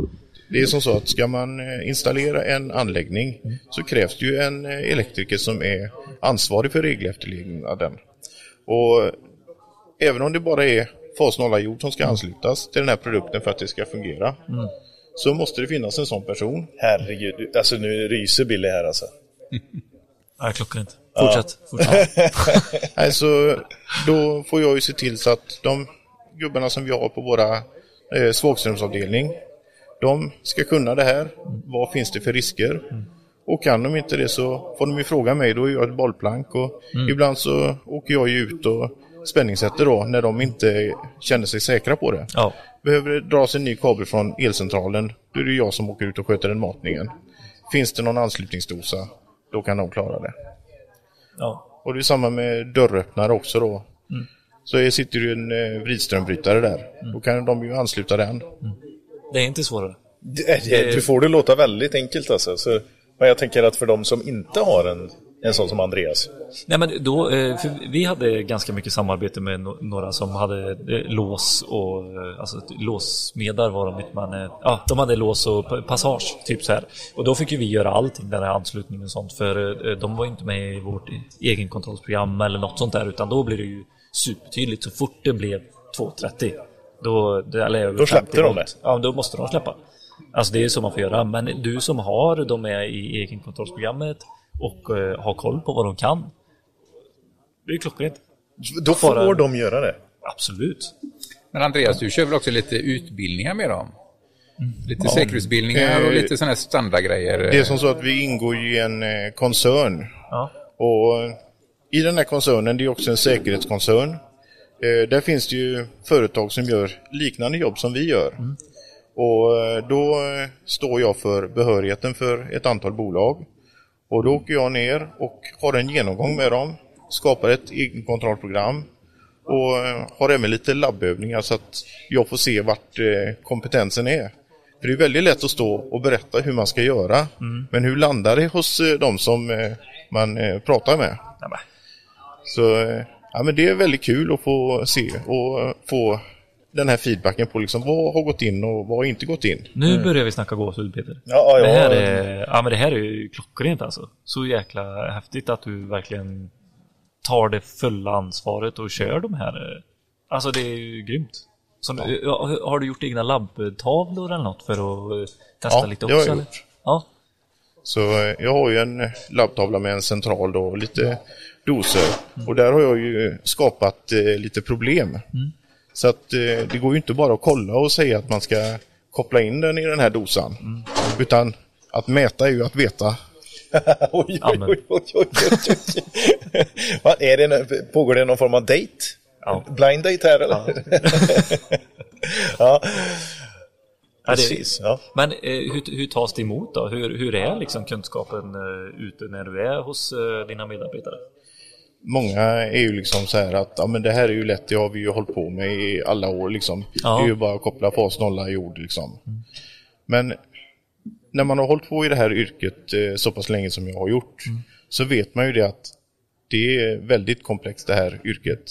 K: Det är som så att ska man eh, installera en anläggning så krävs det ju en eh, elektriker som är ansvarig för regelefterlevnaden. Och även om det bara är fasnollarjord som ska anslutas till den här produkten för att det ska fungera så måste det finnas en sån person.
A: Herregud, alltså nu ryser Billy här alltså.
B: Nej, klockan inte. Fortsätt. fortsätt.
K: Nej, så då får jag ju se till så att de gubbarna som vi har på våra eh, svagströmsavdelning, de ska kunna det här. Vad finns det för risker? Och kan de inte det så får de ju fråga mig, då är jag ett bollplank. Och Ibland så åker jag ju ut och spänningssätter då när de inte känner sig säkra på det.
B: Ja.
K: Behöver det dras en ny kabel från elcentralen, då är det jag som åker ut och sköter den matningen. Finns det någon anslutningsdosa, då kan de klara det.
B: Ja.
K: Och det är samma med dörröppnare också då. Så det sitter ju en eh, vridströmbrytare där. Då kan de ju ansluta den.
B: Det är inte svårare.
A: Det-
B: Eh,
A: det- Du får det låta väldigt enkelt alltså. Så, men jag tänker att för de som inte har en, en sån som Andreas.
B: Nej men då, eh, för vi hade ganska mycket samarbete med no- några som hade eh, lås och, eh, alltså ett- låssmedar var de inte man, eh, ja de hade lås och pa- passage, typ så här. Och då fick ju vi göra allting, den här anslutningen och sånt, för eh, de var ju inte med i vårt egenkontrollsprogram eller något sånt där, utan då blir det ju supertydligt så fort det blev 2.30. Då, det- eller över
A: Då släppte
B: 50
A: de
B: volt.
A: det.
B: Ja, då måste de släppa. Alltså det är så man får göra. Men du som har dem med i egenkontrollsprogrammet och eh, har koll på vad de kan. Det är klockrent.
A: Då får
B: Bara-
A: de göra det.
B: Absolut.
J: Men Andreas, du kör väl också lite utbildningar med dem?
A: Mm.
J: Lite säkerhetsutbildningar och
K: Eh,
J: lite sådana här standardgrejer.
K: Det är som så att vi ingår ju i en eh, koncern.
B: Ja.
K: Och eh, I den här koncernen, det är också en säkerhetskoncern. Eh, Där finns det ju företag som gör liknande jobb som vi gör.
B: Mm.
K: Och eh, Då eh, står jag för behörigheten för ett antal bolag. Och Då åker jag ner och har en genomgång med dem, skapar ett egenkontrollprogram och eh, har även lite labbövningar så att jag får se vart eh, kompetensen är. För det är väldigt lätt att stå och berätta hur man ska göra, men hur landar det hos eh, de som eh, man eh, pratar med? Så eh, ja, men det är väldigt kul att få se och eh, få den här feedbacken på liksom vad har gått in och vad har inte gått in.
B: Nu börjar vi snacka gåshud Peter.
A: Ja, ja,
B: Det här
A: ja.
B: är, ja, men det här är ju klockrent alltså. Så jäkla häftigt att du verkligen tar det fulla ansvaret och kör de här. eh, Alltså det är ju grymt. Som, ja. Har du gjort egna labbtavlor eller något för att eh, testa
K: Ja,
B: lite
K: det har
B: också?
K: jag
B: eller?
K: gjort.
B: Ja,
K: Så eh, jag har ju en eh, labbtavla med en central då, och lite doser. Och där har jag ju skapat eh, lite problem.
A: Mm.
K: Så att eh, det går ju inte bara att kolla och säga att man ska koppla in den i den här dosan.
A: Mm.
K: Utan att mäta är ju att veta.
A: <laughs> oj, oj, oj, oj, oj, oj, oj. <laughs> Vad är det, nu? pågår det någon form av date? Blind date här eller? <laughs> Ja,
B: Ja, det-
A: precis. Ja.
B: Men eh, hur, hur tas det emot då? Hur, hur är liksom kunskapen eh, ute när du är hos eh, dina medarbetare?
K: Många är ju liksom så här att ja, men det här är ju lätt, det har vi ju hållit på med i alla år. Liksom.
B: Ja.
K: Det är ju bara att koppla fas, nolla, jord. Liksom. Men när man har hållit på i det här yrket eh, så pass länge som jag har gjort så vet man ju det att det är väldigt komplext det här yrket.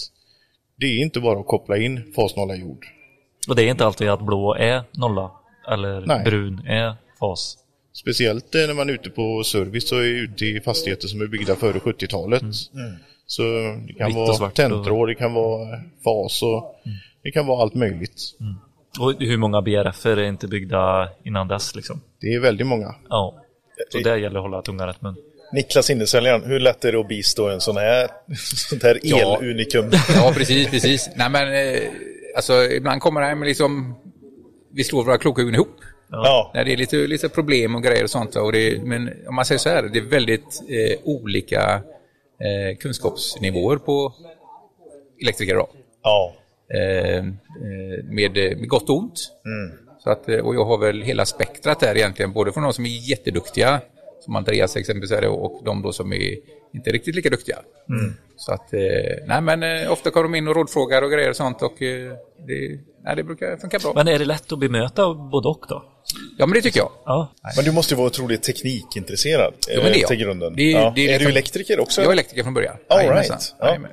K: Det är inte bara att koppla in fas, nolla, jord.
B: Och det är inte alltid att blå är nolla eller
K: Nej.
B: brun är fas.
K: Speciellt eh, när man är ute på service och är ute i fastigheter som är byggda före 70-talet. Så det kan
B: Vitt och
K: vara
B: svart och-
K: tenntråd, det kan vara fas och det kan vara allt möjligt.
B: Och hur många BRF är inte byggda innan dess liksom?
K: Det är väldigt många.
B: Ja. Så där gäller det att hålla tungan rätt mun.
A: Niklas Innesäljaren, hur lätt är det att bistå en sån här, <laughs> sånt här
J: Ja.
A: elunikum?
J: Ja, precis, precis. Nej, men eh, alltså, ibland kommer det här med liksom, vi slår våra klokhuvuden ihop.
A: Ja.
J: När det är lite, lite problem och grejer och sånt. va, Och det, men om man säger så här, det är väldigt eh, olika eh, kunskapsnivåer på elektriker idag.
A: ja.
J: Eh, eh, med, med gott och ont. Så att, eh, och jag har väl hela spektrat där egentligen, både från de som är jätteduktiga, som Andreas exempelvis är, och de då som är inte riktigt lika duktiga. Så att, eh, nej men eh, ofta kommer de in och rådfrågar och grejer och sånt och eh, det, nej, det brukar funka bra.
B: Men är det lätt att bemöta både och då?
J: ja men det tycker jag.
B: Ja.
A: Men du måste ju vara otroligt teknikintresserad
J: Jo, men det
A: eh,
J: jag.
A: till grunden.
J: Det är-
A: ja.
J: det är
A: är
J: liksom-
A: du elektriker också?
J: Jag är elektriker från början.
A: All
J: Jajamensan.
A: right. Ja.
J: Jajamän.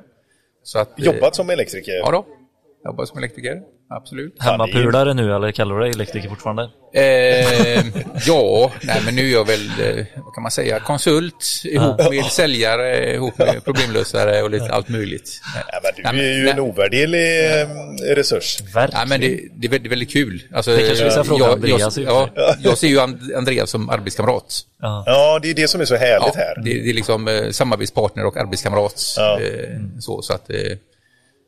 J: Så att, eh,
A: Jobbat som elektriker?
J: Ja då. Jag jobbar som elektriker. absolut.
B: Hemmapulare nu eller kallar du dig elektriker fortfarande?
J: Eh, <laughs> ja, nej, men nu är jag väl, eh, vad kan man säga, konsult ihop med säljare, ihop med problemlösare och lite allt möjligt.
A: Ja, men du
J: Nej, men-
A: är ju
J: nej.
A: en ovärderlig eh, resurs.
J: Ja, men det, det, är vä- det är väldigt kul. Alltså,
B: Det kanske vi ska fråga Andreas
J: Jag,
B: i
J: ja, jag ser ju And- Andreas som arbetskamrat.
A: Ja, det är det som är så
J: Ja,
A: härligt här.
J: det, det är liksom eh, samarbetspartner och arbetskamrat.
A: Ja. Mm.
J: Eh, så, så att, eh,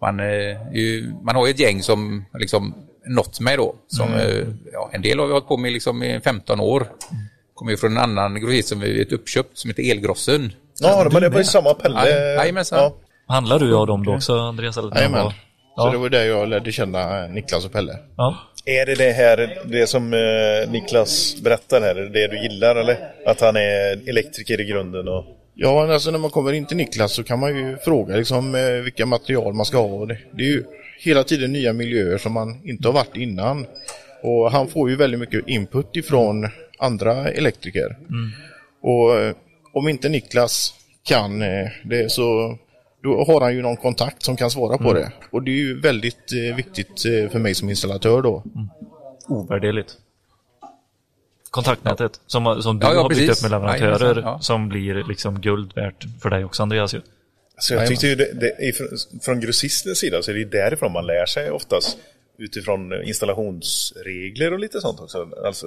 J: man, eh, är ju, man har ju ett gäng som har liksom nått mig då. Som,
A: Mm.
J: eh, ja, en del har vi hållit på med liksom i 15 år. Kommer ju från en annan grossist som är ett uppköp som heter Elgrossen.
A: Ja, men det var ju samma Pelle.
J: Nej, jajamensan.
A: Ja.
B: Handlar du av dem då också Andreas? Eller
K: Jajamän. Så
B: Ja.
K: det var där jag lärde känna eh, Niklas och Pelle.
B: Ja.
A: Är det det här, det som eh, Niklas berättar här, är det det du gillar eller? Att han är elektriker i grunden och...
K: Ja, men alltså när man kommer in till Niklas så kan man ju fråga liksom, eh, vilka material man ska ha. Och Det det är ju hela tiden nya miljöer som man inte har varit innan. Och han får ju väldigt mycket input ifrån andra elektriker. Och eh, om inte Niklas kan eh, det så då har han ju någon kontakt som kan svara på det. Och det är ju väldigt eh, viktigt eh, för mig som installatör då.
B: Ovärderligt. Kontaktnätet som, som du
J: Ja, ja,
B: har byggt
J: precis.
B: upp med
J: Nej,
B: leverantörer
J: precis. Ja.
B: som blir liksom guld värt för dig också Andreas. ju.
A: Så jag tyckte ju det, det, ifrån- från grossistens sida så är det ju därifrån man lär sig oftast utifrån installationsregler och lite sånt också. Alltså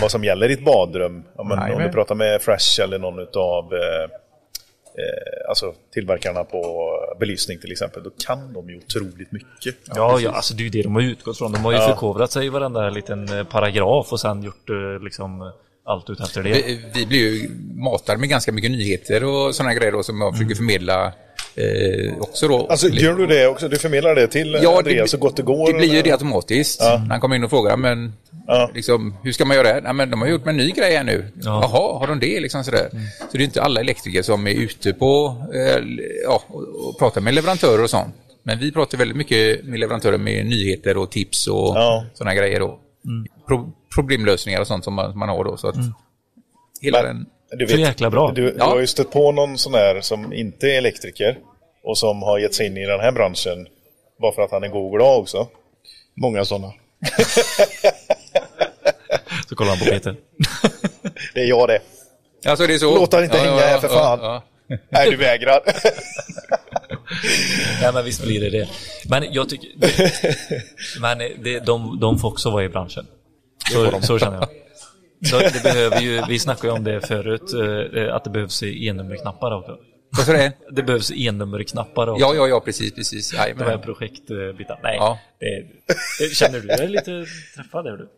A: vad som gäller i ett badrum. Ja, men om
J: Jajamän.
A: du pratar med Fresh eller någon utav eh, eh, alltså tillverkarna på belysning till exempel, då kan de ju otroligt mycket.
B: Ja, ja, alltså det är ju det de har utgått från. De har ju förkovrat sig i varenda liten eh, paragraf och sen gjort eh, liksom eh, allt ut efter det.
J: Vi, vi blir ju matade med ganska mycket nyheter och sådana grejer då, som jag försöker förmedla eh, också. Då.
A: Mm. Alltså gör du det också? Du förmedlar det till Andreas så gott det går?
J: Det blir ju
A: eller?
J: det automatiskt. När han kommer in och frågar, men
A: Ja.
J: liksom, hur ska man göra? Ja, men de har gjort en ny grej här nu. Jaha, har de det? Liksom sådär. Så det är inte alla elektriker som är ute på eh, ja, och, och pratar med leverantörer och sånt. Men vi pratar väldigt mycket med leverantörer med nyheter och tips och
A: Ja.
J: sådana grejer. Då. Pro- problemlösningar och sånt som man, som man har då. Så att hela
A: Men-
J: den...
A: Du vet,
B: Så jäkla bra.
A: Du, du
J: Ja.
A: har ju stött på någon sån här som inte är elektriker och som har gett sig in i den här branschen bara för att han är god och glad också.
K: Många sådana.
B: Så kollar han på Peter.
A: Det är jag det.
J: Alltså det är så.
A: Låt han inte hänga här, för fan. Nej,
J: <laughs>
A: du vägrar.
B: Nej men visst blir det det. Men jag <laughs> tycker... Men eh, det, de, de får också vara i branschen. Så, så känner <laughs> jag. Så det behöver ju, vi snackade ju om det förut, eh, att det behövs e-nummerknappar också.
J: Vad sa du?
B: Det behövs e-nummerknappar också.
J: Ja, ja, ja, precis, precis.
B: De här
J: Jajamän.
B: projektbitarna. Nej,
J: Ja.
B: det, det, känner du dig lite träffad? Är du?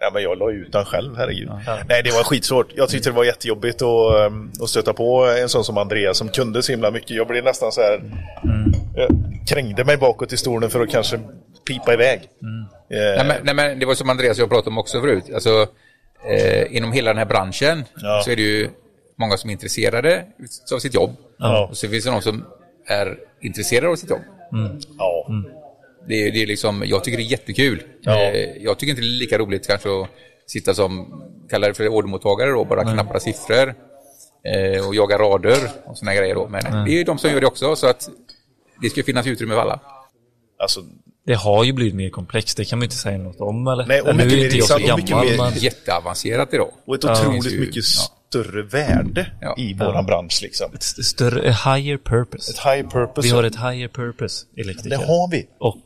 A: ja, men jag la ju ut den själv, herregud. Nej, det var skitsvårt. Jag tyckte det var jättejobbigt att, ehm, att stöta på en sån som Andreas som kunde så himla mycket. Jag blev nästan så här...
J: Mm.
A: Jag krängde mig bakåt i stolen för att kanske pipa iväg. Eh,
J: Mm. Nej, men, nej, men det var som Andreas och jag pratade om också förut. Alltså, eh, inom hela den här branschen
A: Ja.
J: så är det ju många som är intresserade av sitt jobb.
A: Ja.
J: Och så finns det någon som är intresserade av sitt jobb.
A: ja.
J: Mm. Det, är- det är liksom, jag tycker det är jättekul. Eh, jag tycker inte det är lika roligt kanske att sitta som, kallar det för ordermottagare då, bara knappra siffror eh, och jaga rader och såna grejer då. Men det är ju de som gör det också, så att det ska finnas utrymme för alla.
A: Alltså,
B: Det har ju blivit mer komplext, det kan man ju inte säga något om eller?
A: Nej, och
B: nu
A: mycket
B: är
A: mer
B: inte jag så
A: insatt och mycket
B: gammal
A: mer-
B: men...
J: Jätteavancerat idag.
A: och ett
J: Det
A: otroligt
J: är ju-
A: mycket
J: ja.
A: större värde
J: Ja.
A: i våran bransch liksom.
B: Ett st- större, a higher purpose.
A: Ett high purpose.
B: Vi har ett higher purpose elektriker.
A: Det har vi.
B: Och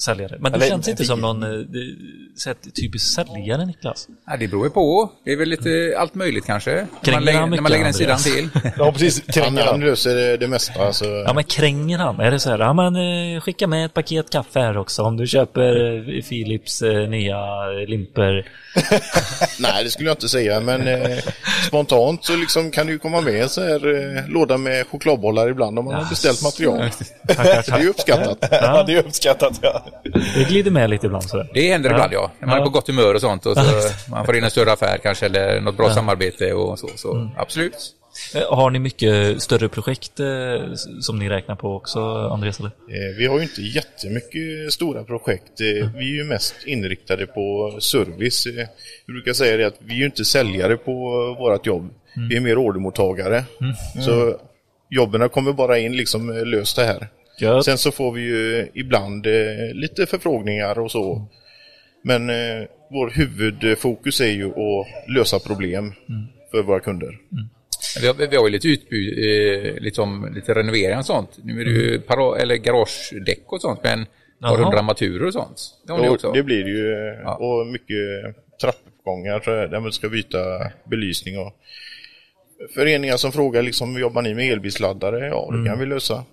B: säljare. Men du
A: Eller,
B: känns inte
A: vi-
B: som någon eh, det- så här, typisk säljare Niklas.
J: Ja, det beror ju på. Det är väl lite allt möjligt kanske. När
B: Kränger
J: man lägger,
B: han
J: när man
B: mycket,
J: lägger den sidan
B: Andreas?
J: till.
K: <laughs>
A: Ja, precis.
K: Han,
A: Kränger
K: han
A: han.
K: löser eh, det mesta. Alltså,
B: Ja men kränger han? Är det så här, ja men eh, skicka med ett paket kaffe här också om du köper eh, Philips eh, nya limper.
K: Nej, det skulle jag inte säga, men eh, spontant så liksom kan det ju komma med en sån här eh, låda med chokladbollar ibland om man har beställt material. det är ju uppskattat.
A: Ja, det är uppskattat. Ja.
B: Det glider med lite ibland sådär.
J: Det händer ibland ja. När man är på gott humör och sånt. Och så man får in en större affär kanske eller något bra samarbete och så. så. Absolut.
B: Eh, Har ni mycket större projekt eh, s- som ni räknar på också Andreas? Eller?
K: Eh, vi har ju inte jättemycket stora projekt. Eh, vi är ju mest inriktade på service. Eh, vi brukar säga det att vi är ju inte säljare på eh, vårat jobb.
A: Mm.
K: Vi är mer ordermottagare. Så jobben kommer bara in liksom eh, löst det här.
D: Gött.
K: Sen så får vi ju ibland eh, lite förfrågningar och så. Men eh, vår huvudfokus är ju att lösa problem
A: Mm.
K: för våra kunder.
J: Vi har, vi har ju lite utbud, eh, liksom, lite renovering och sånt. Nu är det ju para, eller garagedäck och sånt, men har
B: Jaha.
J: du armaturer och sånt? Det har ni
K: Jo,
J: också?
K: det blir det ju. eh,
J: Ja.
K: Och mycket trappuppgångar så här, där man ska byta belysning. Och föreningar som frågar liksom, jobbar ni med elbilsladdare? Ja, det
J: Mm.
K: kan vi lösa.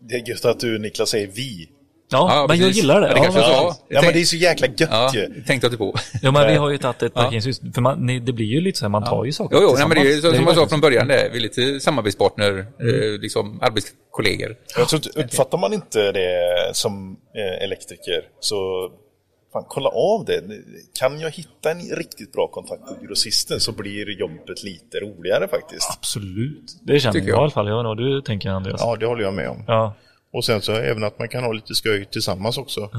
A: Det är gött att du Niklas säger vi.
D: Ja,
J: Ja,
D: men jag
J: precis.
D: gillar det.
J: Ja,
D: Ja,
J: kanske
D: men-
J: jag sa.
A: Ja, men det är så jäkla gött
J: Ja,
A: ju.
J: tänkte jag inte på.
D: Ja men vi
J: Eh,
D: har ju tagit ett parkeringshus, för man, nej, det blir ju lite så här, man tar ju saker
J: Jo, jo nej, men det är ju
D: tillsammans.
J: så, som jag sa
D: verkligen
J: från
D: så.
J: början, det är vi är lite samarbetspartner, eh, liksom arbetskollegor.
A: Jag tror inte, uppfattar man inte det som eh, elektriker så fan, kolla av det. Kan jag hitta en riktigt bra kontakt på grossisten så blir jobbet lite roligare faktiskt.
D: Absolut, det känner jag,
J: Tycker jag.
D: i alla fall. Jag vet inte vad du tänker Andreas. Ja.
K: Ja, det håller jag med om. Och sen så även att man kan ha lite sköj tillsammans också.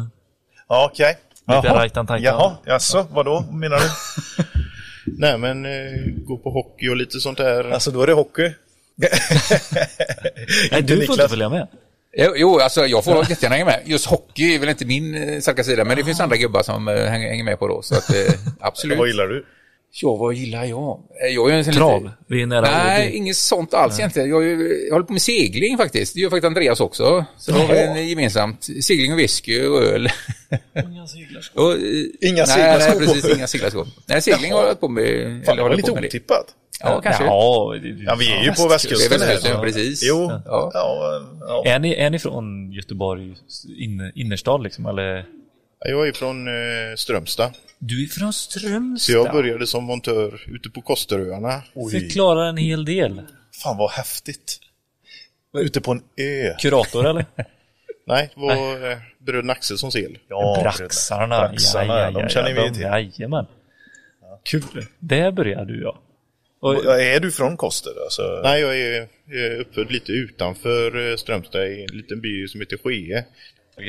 A: Ja, okej.
D: Lite
A: Jaha.
D: right and tight.
A: Jaha, jaså, vadå menar du?
K: Nej, men eh, gå på hockey och lite sånt där.
A: Alltså då är det hockey.
D: Nej, du får
A: Niklas.
D: inte följa med.
J: Jo, Jo, alltså jag får jättegärna hänga med. Just hockey är väl inte min eh, starka sida, men det finns andra gubbar som eh, hänger hänger med på då. Så att,
A: <laughs>
J: eh, absolut.
A: Vad gillar du?
J: Ja, vad gillar jag? Eh, Jag är ju en sån
D: Trav,
J: lite-
D: vi är nära
J: Nej,
D: Åby.
J: inget sånt alls egentligen. Jag, är ju- jag håller på med segling faktiskt. Det gör faktiskt Andreas också. Så har vi en gemensamt. Segling och whisky och öl. <laughs> Och, eh,
A: Inga
J: nej,
A: seglarskor.
J: Nej, precis. Inga seglarskor. Nej, segling har jag hållit på med.
A: Fan,
J: håller
A: det var
J: på
A: lite
J: med det.
A: otippat.
J: Ja, kanske.
D: Ja, det-
A: Ja, vi är ju på
J: Det är
A: västkusten.
J: västkusten,
A: här.
J: precis.
A: Jo, ja.
J: Ja.
A: ja.
D: Är ni, är ni från Göteborg in, innerstad liksom, eller?
K: Jag är från eh, Strömstad.
D: Du är från Strömstad.
K: Så jag började som montör ute på Kosteröarna.
D: Förklarar en hel del.
A: Fan vad häftigt. Ute på en ö.
D: Kurator eller?
K: Nej, det var eh, bröderna Axelssons el.
A: <laughs> Ja,
D: Braxarna.
A: Braxarna, de känner vi
D: de-
A: till.
D: Jajamän. Kul. Där börjar du ja. Och,
A: Ja, Är du från Koster? Alltså,
K: Nej, jag är eh, uppfödd lite utanför eh, Strömstad i en liten by som heter Skee.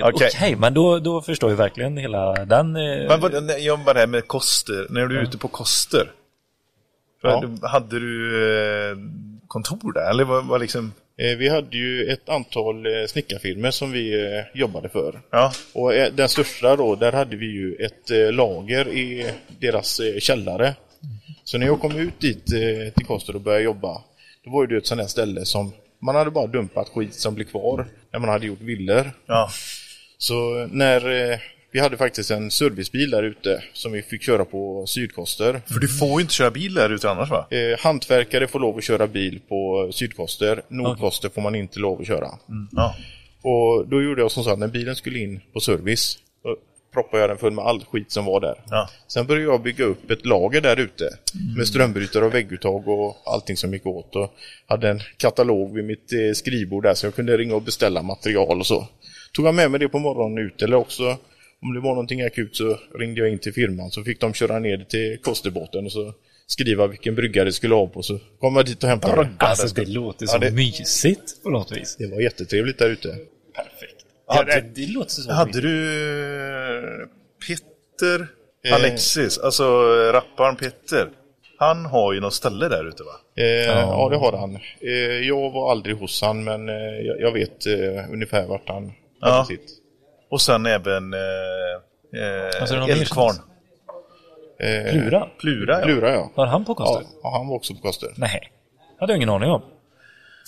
D: Okej,
A: Okej.
D: men då, då förstår jag verkligen hela den... eh,
A: Men vad, nej, jag bara det här med Koster, när du är ute på Koster.
K: Ja.
A: vad- Hade du eh, kontor där? Eller vad, vad liksom...
K: Eh, Vi hade ju ett antal eh, snickarfirmor som vi eh, jobbade för.
A: Ja,
K: Och eh, den största då, där hade vi ju ett eh, lager i deras eh, källare. Så när jag kom ut dit eh, till Koster och började jobba, då var ju det ett sånt här ställe som man hade bara dumpat skit som blev kvar när man hade gjort villor.
A: ja.
K: Så när eh, vi hade faktiskt en servicebil där ute som vi fick köra på Sydkoster.
A: För du får ju inte köra bil där ute annars va?
K: Eh, hantverkare får lov att köra bil på Sydkoster, Nordkoster får man inte lov att köra.
A: Ja.
K: Och då gjorde jag som så att när bilen skulle in på service, då proppade jag den full med all skit som var där.
A: Ja.
K: Sen började jag bygga upp ett lager där ute med strömbrytare och vägguttag och allting som gick åt. Och hade en katalog vid mitt eh, skrivbord där så jag kunde ringa och beställa material och så. Tog jag med mig det på morgonen ut eller också om det var någonting akut så ringde jag in till firman så fick de köra ner det till kosterbåten och så skriva vilken brygga det skulle ha på så kom jag dit och hämtade det.
D: alltså det låter så mysigt på något vis.
K: Det var jättetrevligt där ute.
D: Ja, det, det låter så
A: Hade
D: mysigt.
A: du eh, Petter
K: Eh.
A: Alexis, alltså eh, rapparen Petter. Han har ju något ställe där ute va?
K: Eh, ja. det har han. Eh, jag var aldrig hos han, men eh, jag, jag vet eh, ungefär vart han
A: Ja.
K: hade sitt.
A: Och sen även eh, eh,
D: Alltså, är det någon mer
A: Eldkvarn.
K: Eh,
D: Plura?
A: Plura ja.
K: Plura, ja.
D: Var han på
K: ja.
D: Koster?
K: ja. Han var också på Koster.
D: Nej, hade jag ingen aning om.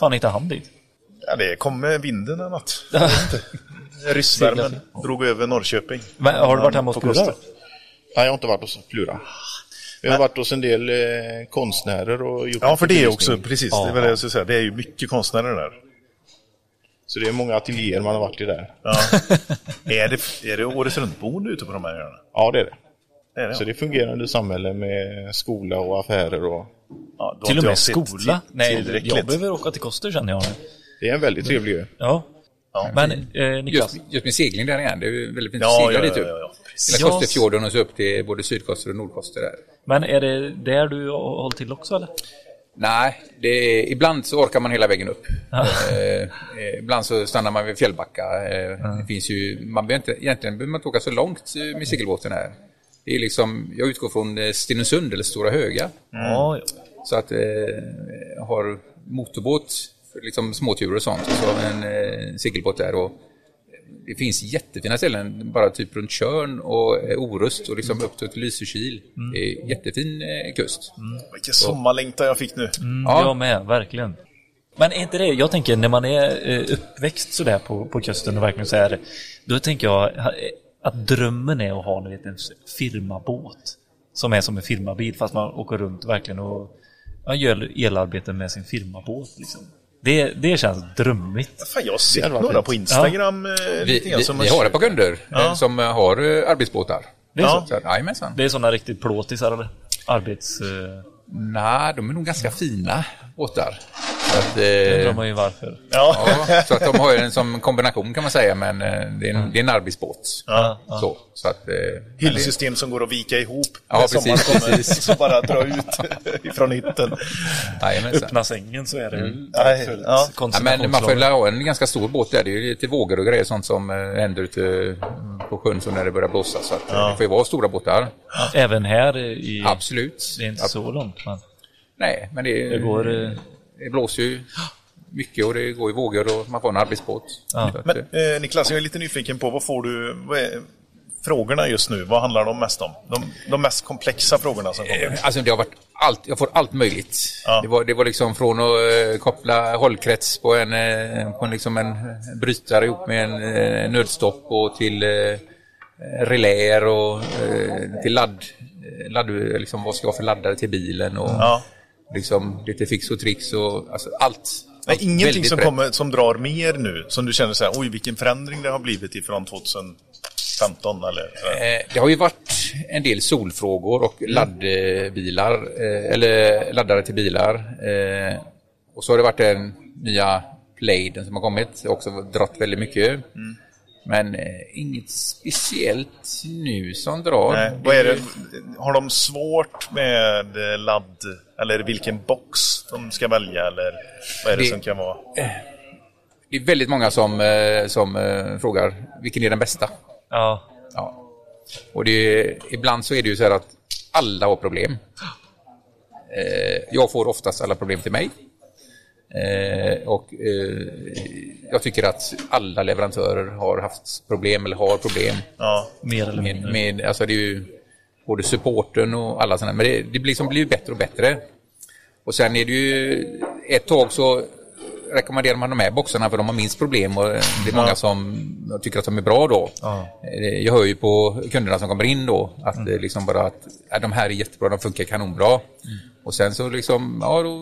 D: Fan hittade han dit?
A: ja det kom med vinden eller något. Jag vet inte. <laughs> Ryssvärmen drog över Norrköping.
D: Men, har du varit hemma hos
A: På
D: Plura?
A: Koster.
K: Nej, jag har inte varit hos Plura. Jag har varit hos en del eh, konstnärer och gjort
A: Ja, för det är
K: belysning.
A: också, precis. Det är väl det jag skulle säga. Det är ju mycket konstnärer där.
K: Så det är många ateljéer man har varit i där. Ja,
A: Är det, är det året runt-boende ute på de här öarna?
K: det är det.
A: Det är det,
K: Så det är fungerande samhälle med skola och affärer och...
A: ja, då har
D: Till och
A: inte jag
D: med
A: sett
D: skola?
A: till-
D: Nej,
A: tillräckligt.
D: jag behöver åka till Koster känner jag. nu.
K: Det är en väldigt trevlig ö.
D: Ja.
A: Ja.
D: Men eh, Niklas,
J: Just, just med segling där igen, det typ. är ju väldigt fint att
A: Ja,
J: segla
A: ja,
J: dit
A: ja,
J: upp.
A: ja, ja. precis.
J: Hela
D: Ja.
J: Kosterfjorden och så upp till både Sydkoster och Nordkoster där.
D: men är det där du har hållit till också eller?
J: Nej, det är, ibland så orkar man hela vägen upp. Eh, eh, ibland så stannar man vid Fjällbacka. Eh, det finns ju, man behöver inte, egentligen behöver man inte åka så långt eh, med segelbåten här. Det är liksom, jag utgår från eh, Stenungsund eller Stora Höga.
D: Ja, ja.
J: Så att eh, har motorbåt för liksom småturer och sånt. Och så har vi en eh, segelbåt där. Och det finns jättefina ställen, bara typ runt Tjörn och eh, Orust och liksom upp till Lysekil.
A: Mm.
J: Det är jättefin eh, kust.
A: Vilken sommarlängtan jag fick nu.
J: Ja.
B: Jag med, verkligen. Men är inte det, jag tänker när man är eh, uppväxt sådär på, på kusten och verkligen så här, då tänker jag ha- eh, att drömmen är att ha ni vet, en firmabåt som är som en firmabil fast man åker runt verkligen och ja, gör elarbeten med sin firmabåt. Liksom. Det, det känns drömmigt.
A: Fan, jag har sett några på Instagram. eh,
J: Vi,
A: lite grann
J: vi,
A: som
J: vi
A: har
J: har ett par kunder
A: Ja.
J: eh, som eh, har eh, arbetsbåtar.
B: Det är
A: Ja.
J: Så, att, jajamensan.
B: Det är sådana riktigt plåtisar eller? Arbets... Eh,
J: Nej, de är nog ganska fina båtar. Så att,
B: undrar
J: eh,
B: man ju varför.
J: ja, så att de har ju en som kombination kan man säga, men eh, det är
A: Mm.
J: en, det är en arbetsbåt. Så, så att, eh, men det-
A: Hyllsystem som går att vika ihop
J: Ja,
A: när sommaren
J: precis,
A: kommer.
J: precis.
A: <laughs> Så bara dra ut ifrån hytten.
J: Jajamensan.
B: Öppna sängen så är det mm.
A: Nej, ja.
J: Ja, men man får väl ha en ganska stor båt där. Det är ju lite vågor och grejer sånt som eh, händer ute eh, på sjön så när det börjar blåsa. Så att, eh, det får ju vara stora båtar.
B: Även här i...
J: Absolut.
B: Det är inte
J: Ab-
B: så långt. Men
J: Nej, men det,
B: det går... Eh,
J: det blåser ju mycket och det går ju vågor och man får en arbetsbåt. Så att,
A: Men
J: eh,
A: eh, Niklas, jag är lite nyfiken på vad får du... Vad är, frågorna just nu, vad handlar de mest om? De, de mest komplexa frågorna som kommer.
J: Alltså det har varit allt, jag får allt möjligt.
A: Ja.
J: Det, var, det var liksom från att eh, koppla hållkrets på en, eh, på en, liksom en brytare ihop med en eh, nödstopp och till eh, reläer och eh, till ladd, ladd, liksom vad ska jag ha för laddare till bilen och
A: Ja.
J: liksom lite fix och tricks och alltså allt.
A: Nej,
J: allt
A: ingenting
J: väldigt
A: som,
J: brett.
A: kommer, som drar mer nu, som du känner så här, oj vilken förändring det har blivit ifrån 2015 eller? sådär.
J: Eh, Det har ju varit en del solfrågor och
A: Mm.
J: laddbilar, eh, eller laddare till bilar. Eh, Och så har det varit den nya Bladen som har kommit, också dratt väldigt mycket.
A: Mm.
J: Men eh, inget speciellt nu som drar.
A: Nej, vad är det? Har de svårt med eh, ladd, eller vilken box de ska välja, eller vad är det,
J: Det-
A: som kan vara?
J: Det är väldigt många som, eh, som eh, frågar vilken är den bästa.
B: ja.
J: Ja. Och det är, ibland så är det ju så här att alla har problem. Eh, jag får oftast alla problem till mig. Eh, och eh, jag tycker att alla leverantörer har haft problem eller har problem.
A: Ja.
B: Mer eller mindre.
J: Med, med, alltså det är ju både supporten och alla sådana. Men det, det blir liksom blir ju bättre och bättre. Och sen är det ju ett tag så rekommenderar man de här boxarna för de har minst problem och det är många som tycker att de är bra då. Eh, Jag hör ju på kunderna som kommer in då att
B: Mm.
J: det liksom bara att ja, de här är jättebra, de funkar kanonbra.
B: Mm.
J: Och sen så liksom, ja då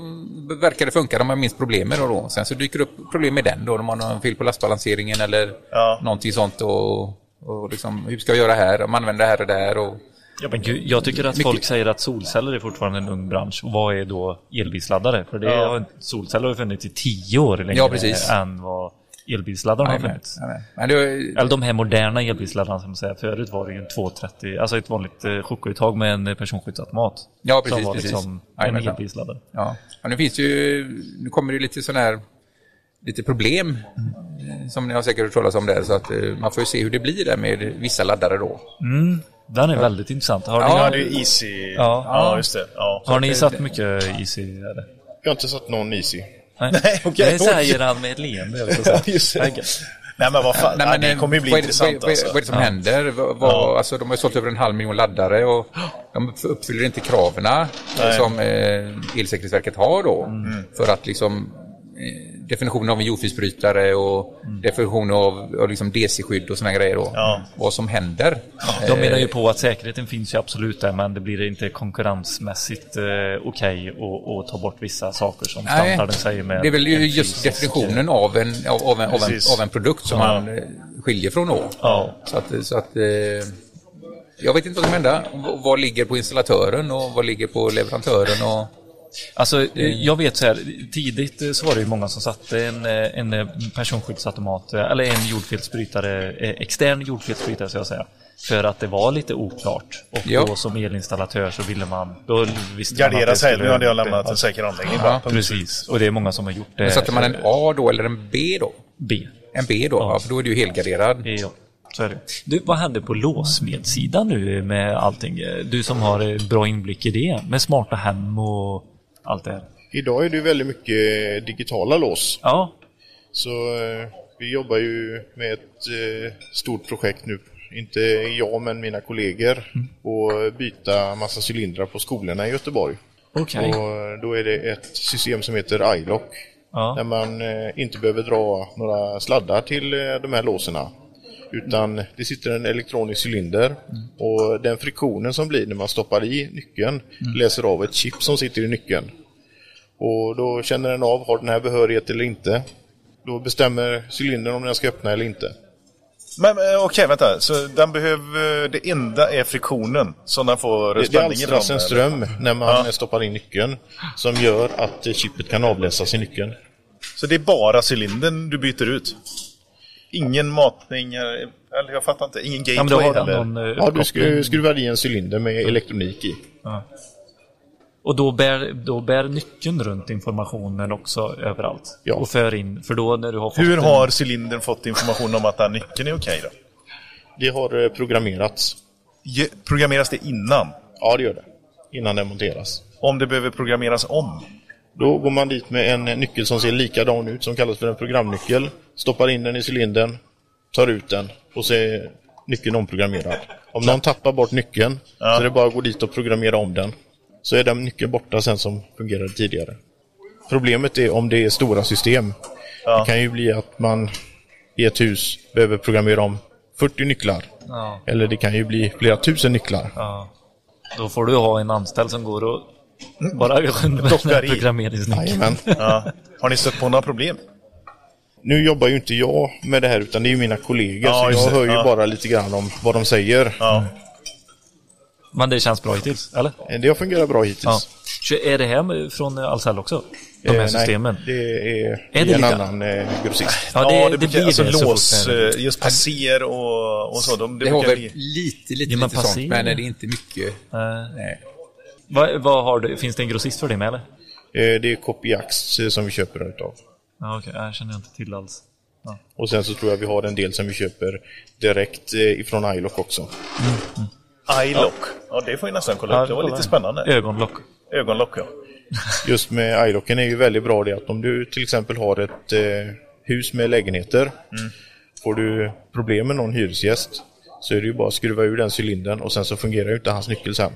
J: verkar det funka, de har minst problem med det då. Sen så dyker det upp problem med den då, de har någon fel på lastbalanseringen eller
A: Ja.
J: någonting sånt och, och liksom, hur ska jag göra här, om använder det här och det här och
B: Ja, men gud, jag tycker att folk säger att solceller är fortfarande en ung bransch. Och vad är då elbilsladdare? För det har, solceller har ju funnits i tio år längre
J: Ja, precis.
B: än vad elbilsladdarna har
J: Jajamän,
B: funnits.
J: jajamän. Men det,
B: Eller de här moderna elbilsladdarna som man säger. Förut var det ju en 230, alltså ett vanligt eh, chockuttag med en eh, personskyddsautomat.
J: Ja, precis,
B: Som var
J: precis.
B: liksom en
J: Jajamän.
B: elbilsladdare.
J: Ja, ja nu finns det ju, nu kommer det ju lite sån här, lite problem eh, som ni har säkert hört talas om där, så att eh, man får ju se hur det blir där med vissa laddare då.
B: Den är väldigt intressant. Har
A: Ja, det
B: ni,
A: är Easy.
B: Ja.
A: ja just det. Ja.
B: har ni satt mycket is i det?
K: Jag har inte satt någon easy.
B: Nej,
A: okej.
B: Det säger han med ett leende. jag vill säga. Okej.
A: Nej men vad fan,
J: Nej, men,
A: det
J: eh,
A: kommer ju bli
J: vad är det-
A: intressant
J: vad, är-
A: alltså.
J: vad, är det som händer? Vad, vad, alltså, de har ju sålt över en halv miljon laddare och de uppf- uppfyller inte kraven eh, som eh, Elsäkerhetsverket har då.
A: Mm.
J: För att liksom eh, definitionen av en jordfelsbrytare och definitionen av, av liksom DC-skydd och såna grejer då.
A: Mm. Ja.
J: Vad som händer.
B: De menar
J: Eh,
B: ju på att säkerheten finns ju absolut där men det blir inte konkurrensmässigt eh, okej att- att ta bort vissa saker som standarden säger med
J: Det är väl
B: en
J: ju
B: fysisk-
J: just definitionen av en, av, av, en, av, en,
A: Precis.
J: av en produkt som man eh, skiljer från då.
B: Ja.
J: Så att, så att, eh, jag vet inte vad som händer. V- Vad ligger på installatören och vad ligger på leverantören? Och,
B: Alltså, eh, jag vet så här, tidigt eh, så var det ju många som satte en, eh, en eh, personskyddsautomat, eh, eller en jordfelsbrytare, eh, extern jordfelsbrytare ska jag säga. För att det var lite oklart. Och
J: Ja.
B: då som elinstallatör så ville man... Då visste man att
A: Gardera
B: det
A: sig,
B: skulle-
A: nu hade jag lämnat en säker anläggning. bara.
J: Ja,
A: Punkt.
B: Precis, och det är många som har gjort det.
J: men satte man en A då eller en B då?
B: B.
J: En B då, ja. för då är du ju helgarderad.
B: Ja, så är det. Du, vad hände på låssmedsidan nu med allting? Du som har eh, bra inblick i det, med smarta hem och allt det här.
K: Idag är det ju väldigt mycket eh, digitala lås.
B: Ja,
K: Så eh, vi jobbar ju med ett eh, stort projekt nu. Inte jag, men mina kollegor. Och byta massa cylindrar på skolorna i Göteborg.
B: okej.
K: Och eh, då är det ett system som heter iLock. Där
B: Ja.
K: man eh, inte behöver dra några sladdar till eh, de här låsena. Utan det sitter en elektronisk cylinder
B: Mm.
K: och den friktionen som blir när man stoppar i nyckeln
B: Mm.
K: läser av ett chip som sitter i nyckeln. Och då känner den av, har den här behörighet eller inte? Då bestämmer cylindern om den ska öppna eller inte.
E: Men eh, okej, vänta. Så den behöver, det enda är friktionen som den får
K: Det, det
E: spänningen
K: alstras
E: från,
K: en
E: eller?
K: ström när man
E: Ja.
K: stoppar in nyckeln som gör att eh, chippet kan avläsas i nyckeln.
E: Så det är bara cylindern du byter ut? Ingen matning, eh, eller jag fattar inte. Ingen
B: Ja, men
E: gateway
B: då har den
E: eller?
B: någon eh,
K: Ja, du
B: uppkoppling.
K: skru- skruvar i en cylinder med elektronik i.
B: Och då bär, då bär nyckeln runt informationen också överallt.
K: Ja.
B: Och för in, för då när du har fått
E: Hur
B: en-
E: har cylindern fått information om att den här nyckeln är okej då?
K: Det har eh, programmerats.
E: Ge- Programmeras det innan?
K: Ja, det gör det. Innan den monteras.
E: Om det behöver programmeras om?
K: Då går man dit med en nyckel som ser likadan ut, som kallas för en programnyckel. Stoppar in den i cylindern, tar ut den och så är nyckeln omprogrammerad. Om någon tappar bort nyckeln så är det bara att gå dit och programmera om den. Så är den nyckeln borta sen som fungerade tidigare. Problemet är om det är stora system. Det kan ju bli att man i ett hus behöver programmera om 40 nycklar.
B: Ja.
K: Eller det kan ju bli flera tusen nycklar.
B: Ja. Då får du ha en anställd som går och bara <laughs> dockar
E: i.
B: programmeringsnyckeln.
K: Jajamän.
E: Ja. Har ni stött på några problem?
K: Nu jobbar ju inte jag med det här utan det är ju mina kollegor
E: Ja,
K: så
E: just
K: jag
E: det.
K: hör ju
E: Ja.
K: bara lite grann om vad de säger.
E: Ja.
B: Men det känns bra hittills, eller?
K: Det har fungerat bra hittills.
B: Ja. Så är det här från Ahlsell också? De här
K: Eh,
B: systemen?
K: Nej, det är,
B: Är
K: är
B: det
K: en
B: lika?
K: annan eh, grossist.
B: Ja, det, det,
E: brukar-
B: blir
E: alltså
B: det så
E: lås,
B: fort det är-
E: eh, just passer och, och så. De, det
J: Det har
E: brukar
J: väl
E: bli-
J: lite, lite,
B: Ja, men
J: lite sånt,
B: passerar.
J: men det är inte mycket.
B: Eh,
J: Nej.
B: vad, vad har du, finns det en grossist för det med eller?
K: Eh, det är Copyax eh, som vi köper den utav.
B: Ja, okej, jag känner inte till alls.
K: Och sen så tror jag vi har en del som vi köper direkt eh, ifrån iLock också.
E: Mm. iLock. Ja, det får vi nästan kolla
B: Ja,
E: upp. Det var
B: kolla.
E: lite spännande.
B: Ögonlock.
E: Ögonlock, ja.
K: Just med iLocken är ju väldigt bra det att om du till exempel har ett eh, hus med lägenheter.
E: Mm.
K: Får du problem med någon hyresgäst så är det ju bara att skruva ur den cylindern och sen så fungerar ju inte hans nyckel sen.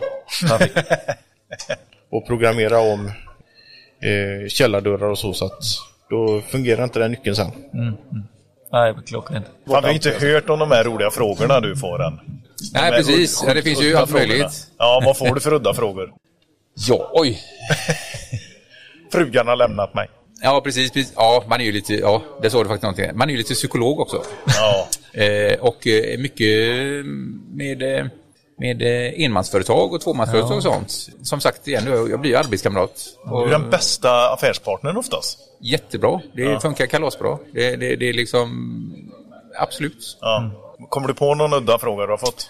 K: och programmera om eh, källardörrar och så så att då fungerar inte den nyckeln sen.
E: Mm,
B: Nej, klockrent.
E: Fan, vi har inte hört om de här roliga frågorna du får än.
J: Nej,
E: De här
J: precis.
E: sjukt
J: Ja, det finns ju
E: udda
J: allt
E: frågorna.
J: möjligt.
E: Ja, vad får du för udda frågor?
J: Ja, oj.
E: Frugan har lämnat mig.
J: Ja, precis. precis. Ja, man är ju lite, ja, där sa du faktiskt någonting. Man är ju lite psykolog också.
E: Ja.
J: Eh, och eh, mycket med, eh, med eh, enmansföretag och tvåmansföretag och sånt. Som sagt, igen, jag jag blir ju arbetskamrat.
E: Du
J: Och
E: är den bästa affärspartnern oftast.
J: Jättebra. Det funkar kalasbra. Det, det, det är liksom... Absolut.
E: Ja. Kommer du på någon udda fråga du har fått?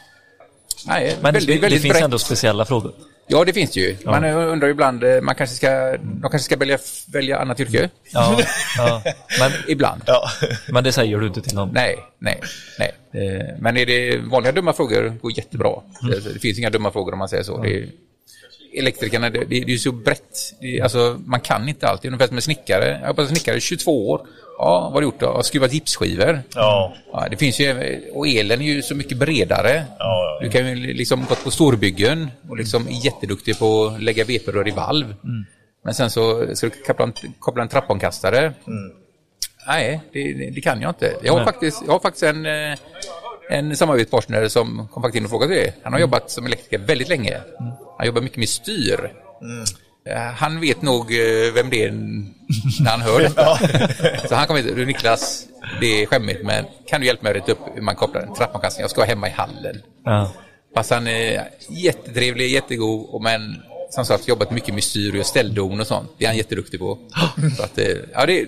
J: Nej,
B: Men
J: väldigt,
B: det, det
J: väldigt
B: finns
J: brett.
B: ändå speciella frågor.
J: Ja, det finns det ju. Man eh, undrar ju ibland, eh, man kanske ska, de kanske ska välja, välja annat yrke. <laughs>
B: Ja, ja. Men,
J: Ibland.
E: Ja.
B: men det säger du inte till någon?
J: Nej, nej, nej. Eh, Men är det vanliga dumma frågor går jättebra. Det- Det finns inga dumma frågor om man säger så. Det är, elektrikerna, det, det, det är ju så brett. Det, är- alltså, man kan inte allt. Det är ungefär som en snickare. Jag var snickare i 22 år. Ja, vad har du gjort då? Jag har skruvat gipsskivor.
E: Ja.
J: Ja, det finns ju, och elen är ju så mycket bredare.
E: ja, ja.
J: Du kan ju liksom gått på storbyggen och liksom är jätteduktig på att lägga veperör i valv. Men sen så ska du koppla en, koppla en trappankastare. Nej, det, det- det kan jag inte. Jag har faktiskt, jag har faktiskt en, eh, en samarbetspartner som kom faktiskt in och frågade det. Han har jobbat som elektriker väldigt länge. Han jobbar mycket med styr. Eh, Han vet nog eh, vem det är när han hör detta. <laughs> Så han kommer hit. Du Niklas, det är skämmigt men kan du hjälpa mig att rita upp hur man kopplar en trappankastning? Jag ska vara hemma i hallen.
B: Ja.
J: Fast han är jättetrevlig, jättegod, och men som sagt jobbat mycket med styr och ställdon och sånt. Det är han jätteduktig på. Så att, eh, ja, det är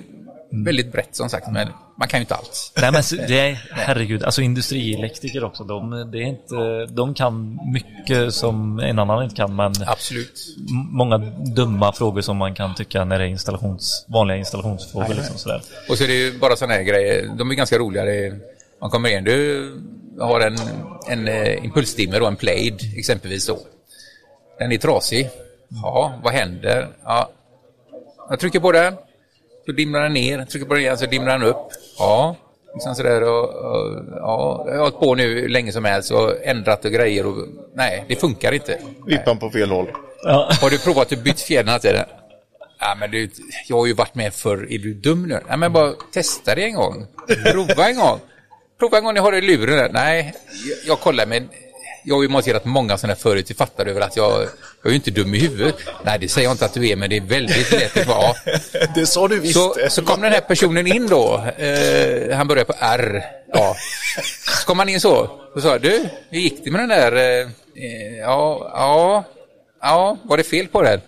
J: väldigt brett som sagt, men man kan ju inte allt.
B: Nej men så- det är, herregud, alltså industrielektriker också, de, det är inte, de kan mycket som en annan inte kan men
J: Absolut.
B: m- många dumma frågor som man kan tycka när det är installations, vanliga installationsfrågor liksom sådär.
J: Och så är det ju bara sådana här grejer. De är ganska roliga. Det är- Man kommer in, du har en, en eh, impulsdimmer och en plaid exempelvis. Då. Den är trasig. Ja, vad händer? Ja, Jag trycker på den, så dimrar den ner. Jag trycker på den igen, så dimrar den upp. Ja, liksom sådär. Och, och, ja, jag har hållit på nu hur länge som helst och ändrat och grejer. Och, nej, det funkar inte.
K: Vippan på fel håll.
J: Har du provat att byta fjädern hela tiden? Ja, men du, jag har ju varit med förr. Är du dum nu? Ja, men bara testa det en gång. Prova en gång. Prova en gång, ni har det i luren. där. Nej, jag, jag kollar men Jag har ju monterat många sådana här förut, det fattar du väl att jag, jag är ju inte dum i huvudet. Nej, det säger jag inte att du är, men det är väldigt lätt att vara. Ja,
A: Det sa du visst.
J: så, så kom den här personen in då. Eh, han började på R. Ja. Så kom han in så. Och sa, du, hur gick det med den där? Eh, eh, ja, ja, ja, var det fel på den?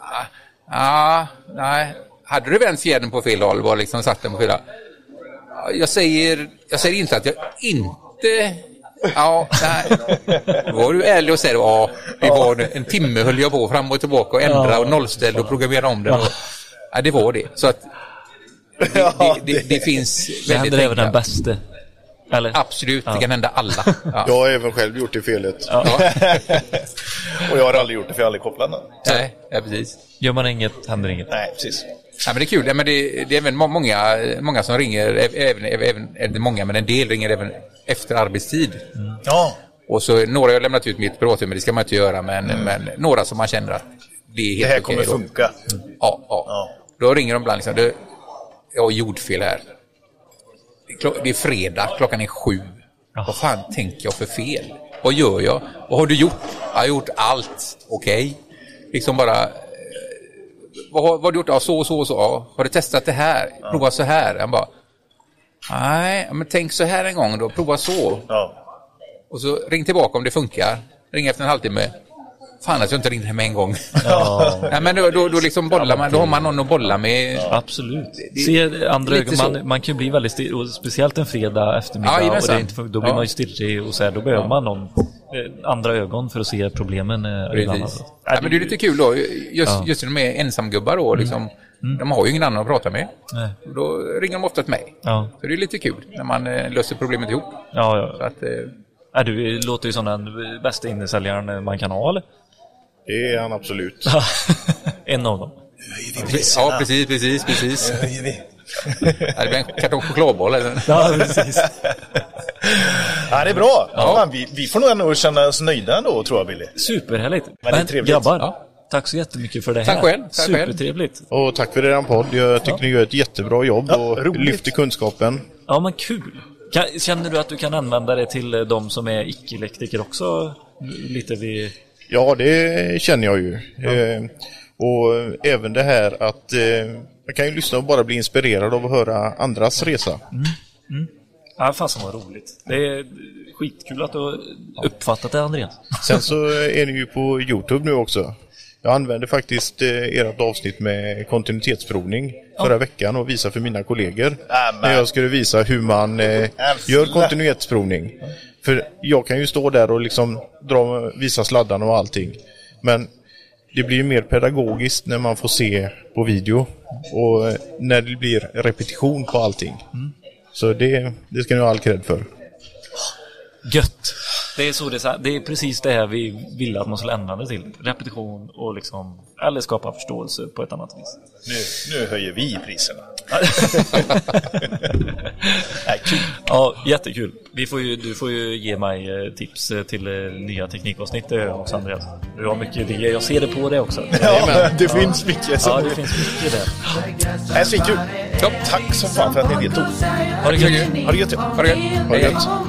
J: Ja, ja, nej. Hade du vänt fjädern på fel håll? Var liksom satt den på fel håll? Ja, Jag säger, jag säger inte att jag inte... Ja, nej. Då var du ärlig och säger ja, det var en timme höll jag på fram och tillbaka och ändra och nollställa och programmera om den. Och, ja, det var det. Så att det, det, det, det finns
B: Det händer
J: väldigt
B: även den
J: enkla.
B: bäste. Eller?
J: Absolut, det kan hända alla.
A: <laughs>
J: Ja.
K: Jag har även själv gjort det felet.
A: Och jag har aldrig gjort det för jag har aldrig kopplat den.
J: Nej, ja, precis.
B: Gör man inget händer inget.
A: Nej, precis.
J: Ja, men det är kul. Ja, men det, det är även må- många, många som ringer, ä- även, även, även, många, men en del ringer även efter arbetstid.
A: Ja,
J: Och så några har jag lämnat ut mitt privatnummer, det ska man inte göra, men, men några som man känner att det är helt
A: det här
J: okej
A: kommer
J: då.
A: funka.
J: Ja, ja.
A: Ja.
J: Då ringer de ibland liksom, du, jag har jordfel här. Det är, klo- det är fredag, klockan är sju. Vad fan tänker jag för fel? Vad gör jag? Vad har du gjort? Jag har gjort allt. Okej. Liksom bara... eh, Vad har, vad har du gjort? Ja, så och så och så. Ja. Har du testat det här? Prova så här. Han bara... Nej, men tänk så här en gång då. Prova så.
A: Ja.
J: Och så ring tillbaka om det funkar. Ring efter en halvtimme. Fan att jag inte ringde hem en gång. <laughs> Nej, men då, då, då liksom bollar man, då har man någon att bolla med.
B: Absolut. Se andra
J: lite
B: ögon,
J: så.
B: man, man kan ju bli väldigt stirrig, och speciellt en fredag
J: Ja,
B: eftermiddag och
J: jajamensan.
B: det inte funkar, då blir
J: Ja.
B: man ju stirrig och så här, då behöver man någon, eh, andra ögon för att se problemen. eh, ibland.
J: Precis. Ja, men det är lite kul då, just, just när de är ensamgubbar då, liksom, de har ju ingen annan att prata med.
B: Nej.
J: Och Då ringer de ofta till mig.
B: Ja,
J: Så det är lite kul när man eh, löser problemet ihop.
B: ja,
J: Så
B: ja.
J: att, eh,
B: ja. Du eh, låter ju som den eh, bästa innesäljaren eh, man kan ha, eller?
K: Det är han
A: <laughs>
K: absolut.
B: <laughs> en av dem.
J: ja, precis, precis, precis. Ja, det blir en kartong chokladboll. Eller?
B: Ja, precis.
A: Ja, det är bra. Ja. fan, vi, vi får nog ändå känna oss nöjda ändå, tror jag, Billy.
B: Superhärligt.
A: Men det är trevligt.
B: grabbar,
J: Ja.
B: tack så jättemycket för det här.
J: Tack själv, tack själv.
B: Supertrevligt.
K: Och tack för er podd. Jag tycker ni gör ett jättebra jobb
A: Ja,
K: och
A: roligt.
K: lyfter kunskapen.
B: Ja, men kul. Kan, känner du att du kan använda det till eh, de som är icke-elektriker också? Lite vid...
K: Ja, det känner jag ju. Eh, och även det här att eh, man kan ju lyssna och bara bli inspirerad av att höra andras resa.
B: Ja, fasen vad roligt. Det är skitkul att du har uppfattat det, Andreas.
K: Sen så är ni ju på Youtube nu också. Jag använde faktiskt eh, ert avsnitt med kontinuitetsprovning förra veckan och visa för mina kollegor
A: Nämen.
K: när jag skulle visa hur man eh, gör kontinuitetsprovning. För jag kan ju stå där och liksom dra, visa sladdarna och allting. Men det blir ju mer pedagogiskt när man får se på video och eh, när det blir repetition på allting.
A: Mm.
K: Så det, det ska ni ha all cred för.
B: Gött! Det är, så det, är, så här- det är precis det här vi ville att man skulle ändra det till. Repetition och liksom, eller skapa förståelse på ett annat vis. <laughs>
A: Nu, nu höjer vi priserna.
B: Ja, jättekul. Vi får ju, du får ju ge mig eh, tips eh, till eh, nya teknikavsnitt det gör jag också Andreas. Du har mycket idéer, jag ser det på dig <laughs> också.
A: Ja, det finns mycket.
B: Ja,
A: Som...
B: det finns mycket där.
A: Ja. Svinkul.
J: Ja.
A: Tack så fan för att ni deltog.
B: Ha det gött.
A: Ha det gött. ja.
J: Ha det gött.
K: Har det gött?
F: er, er,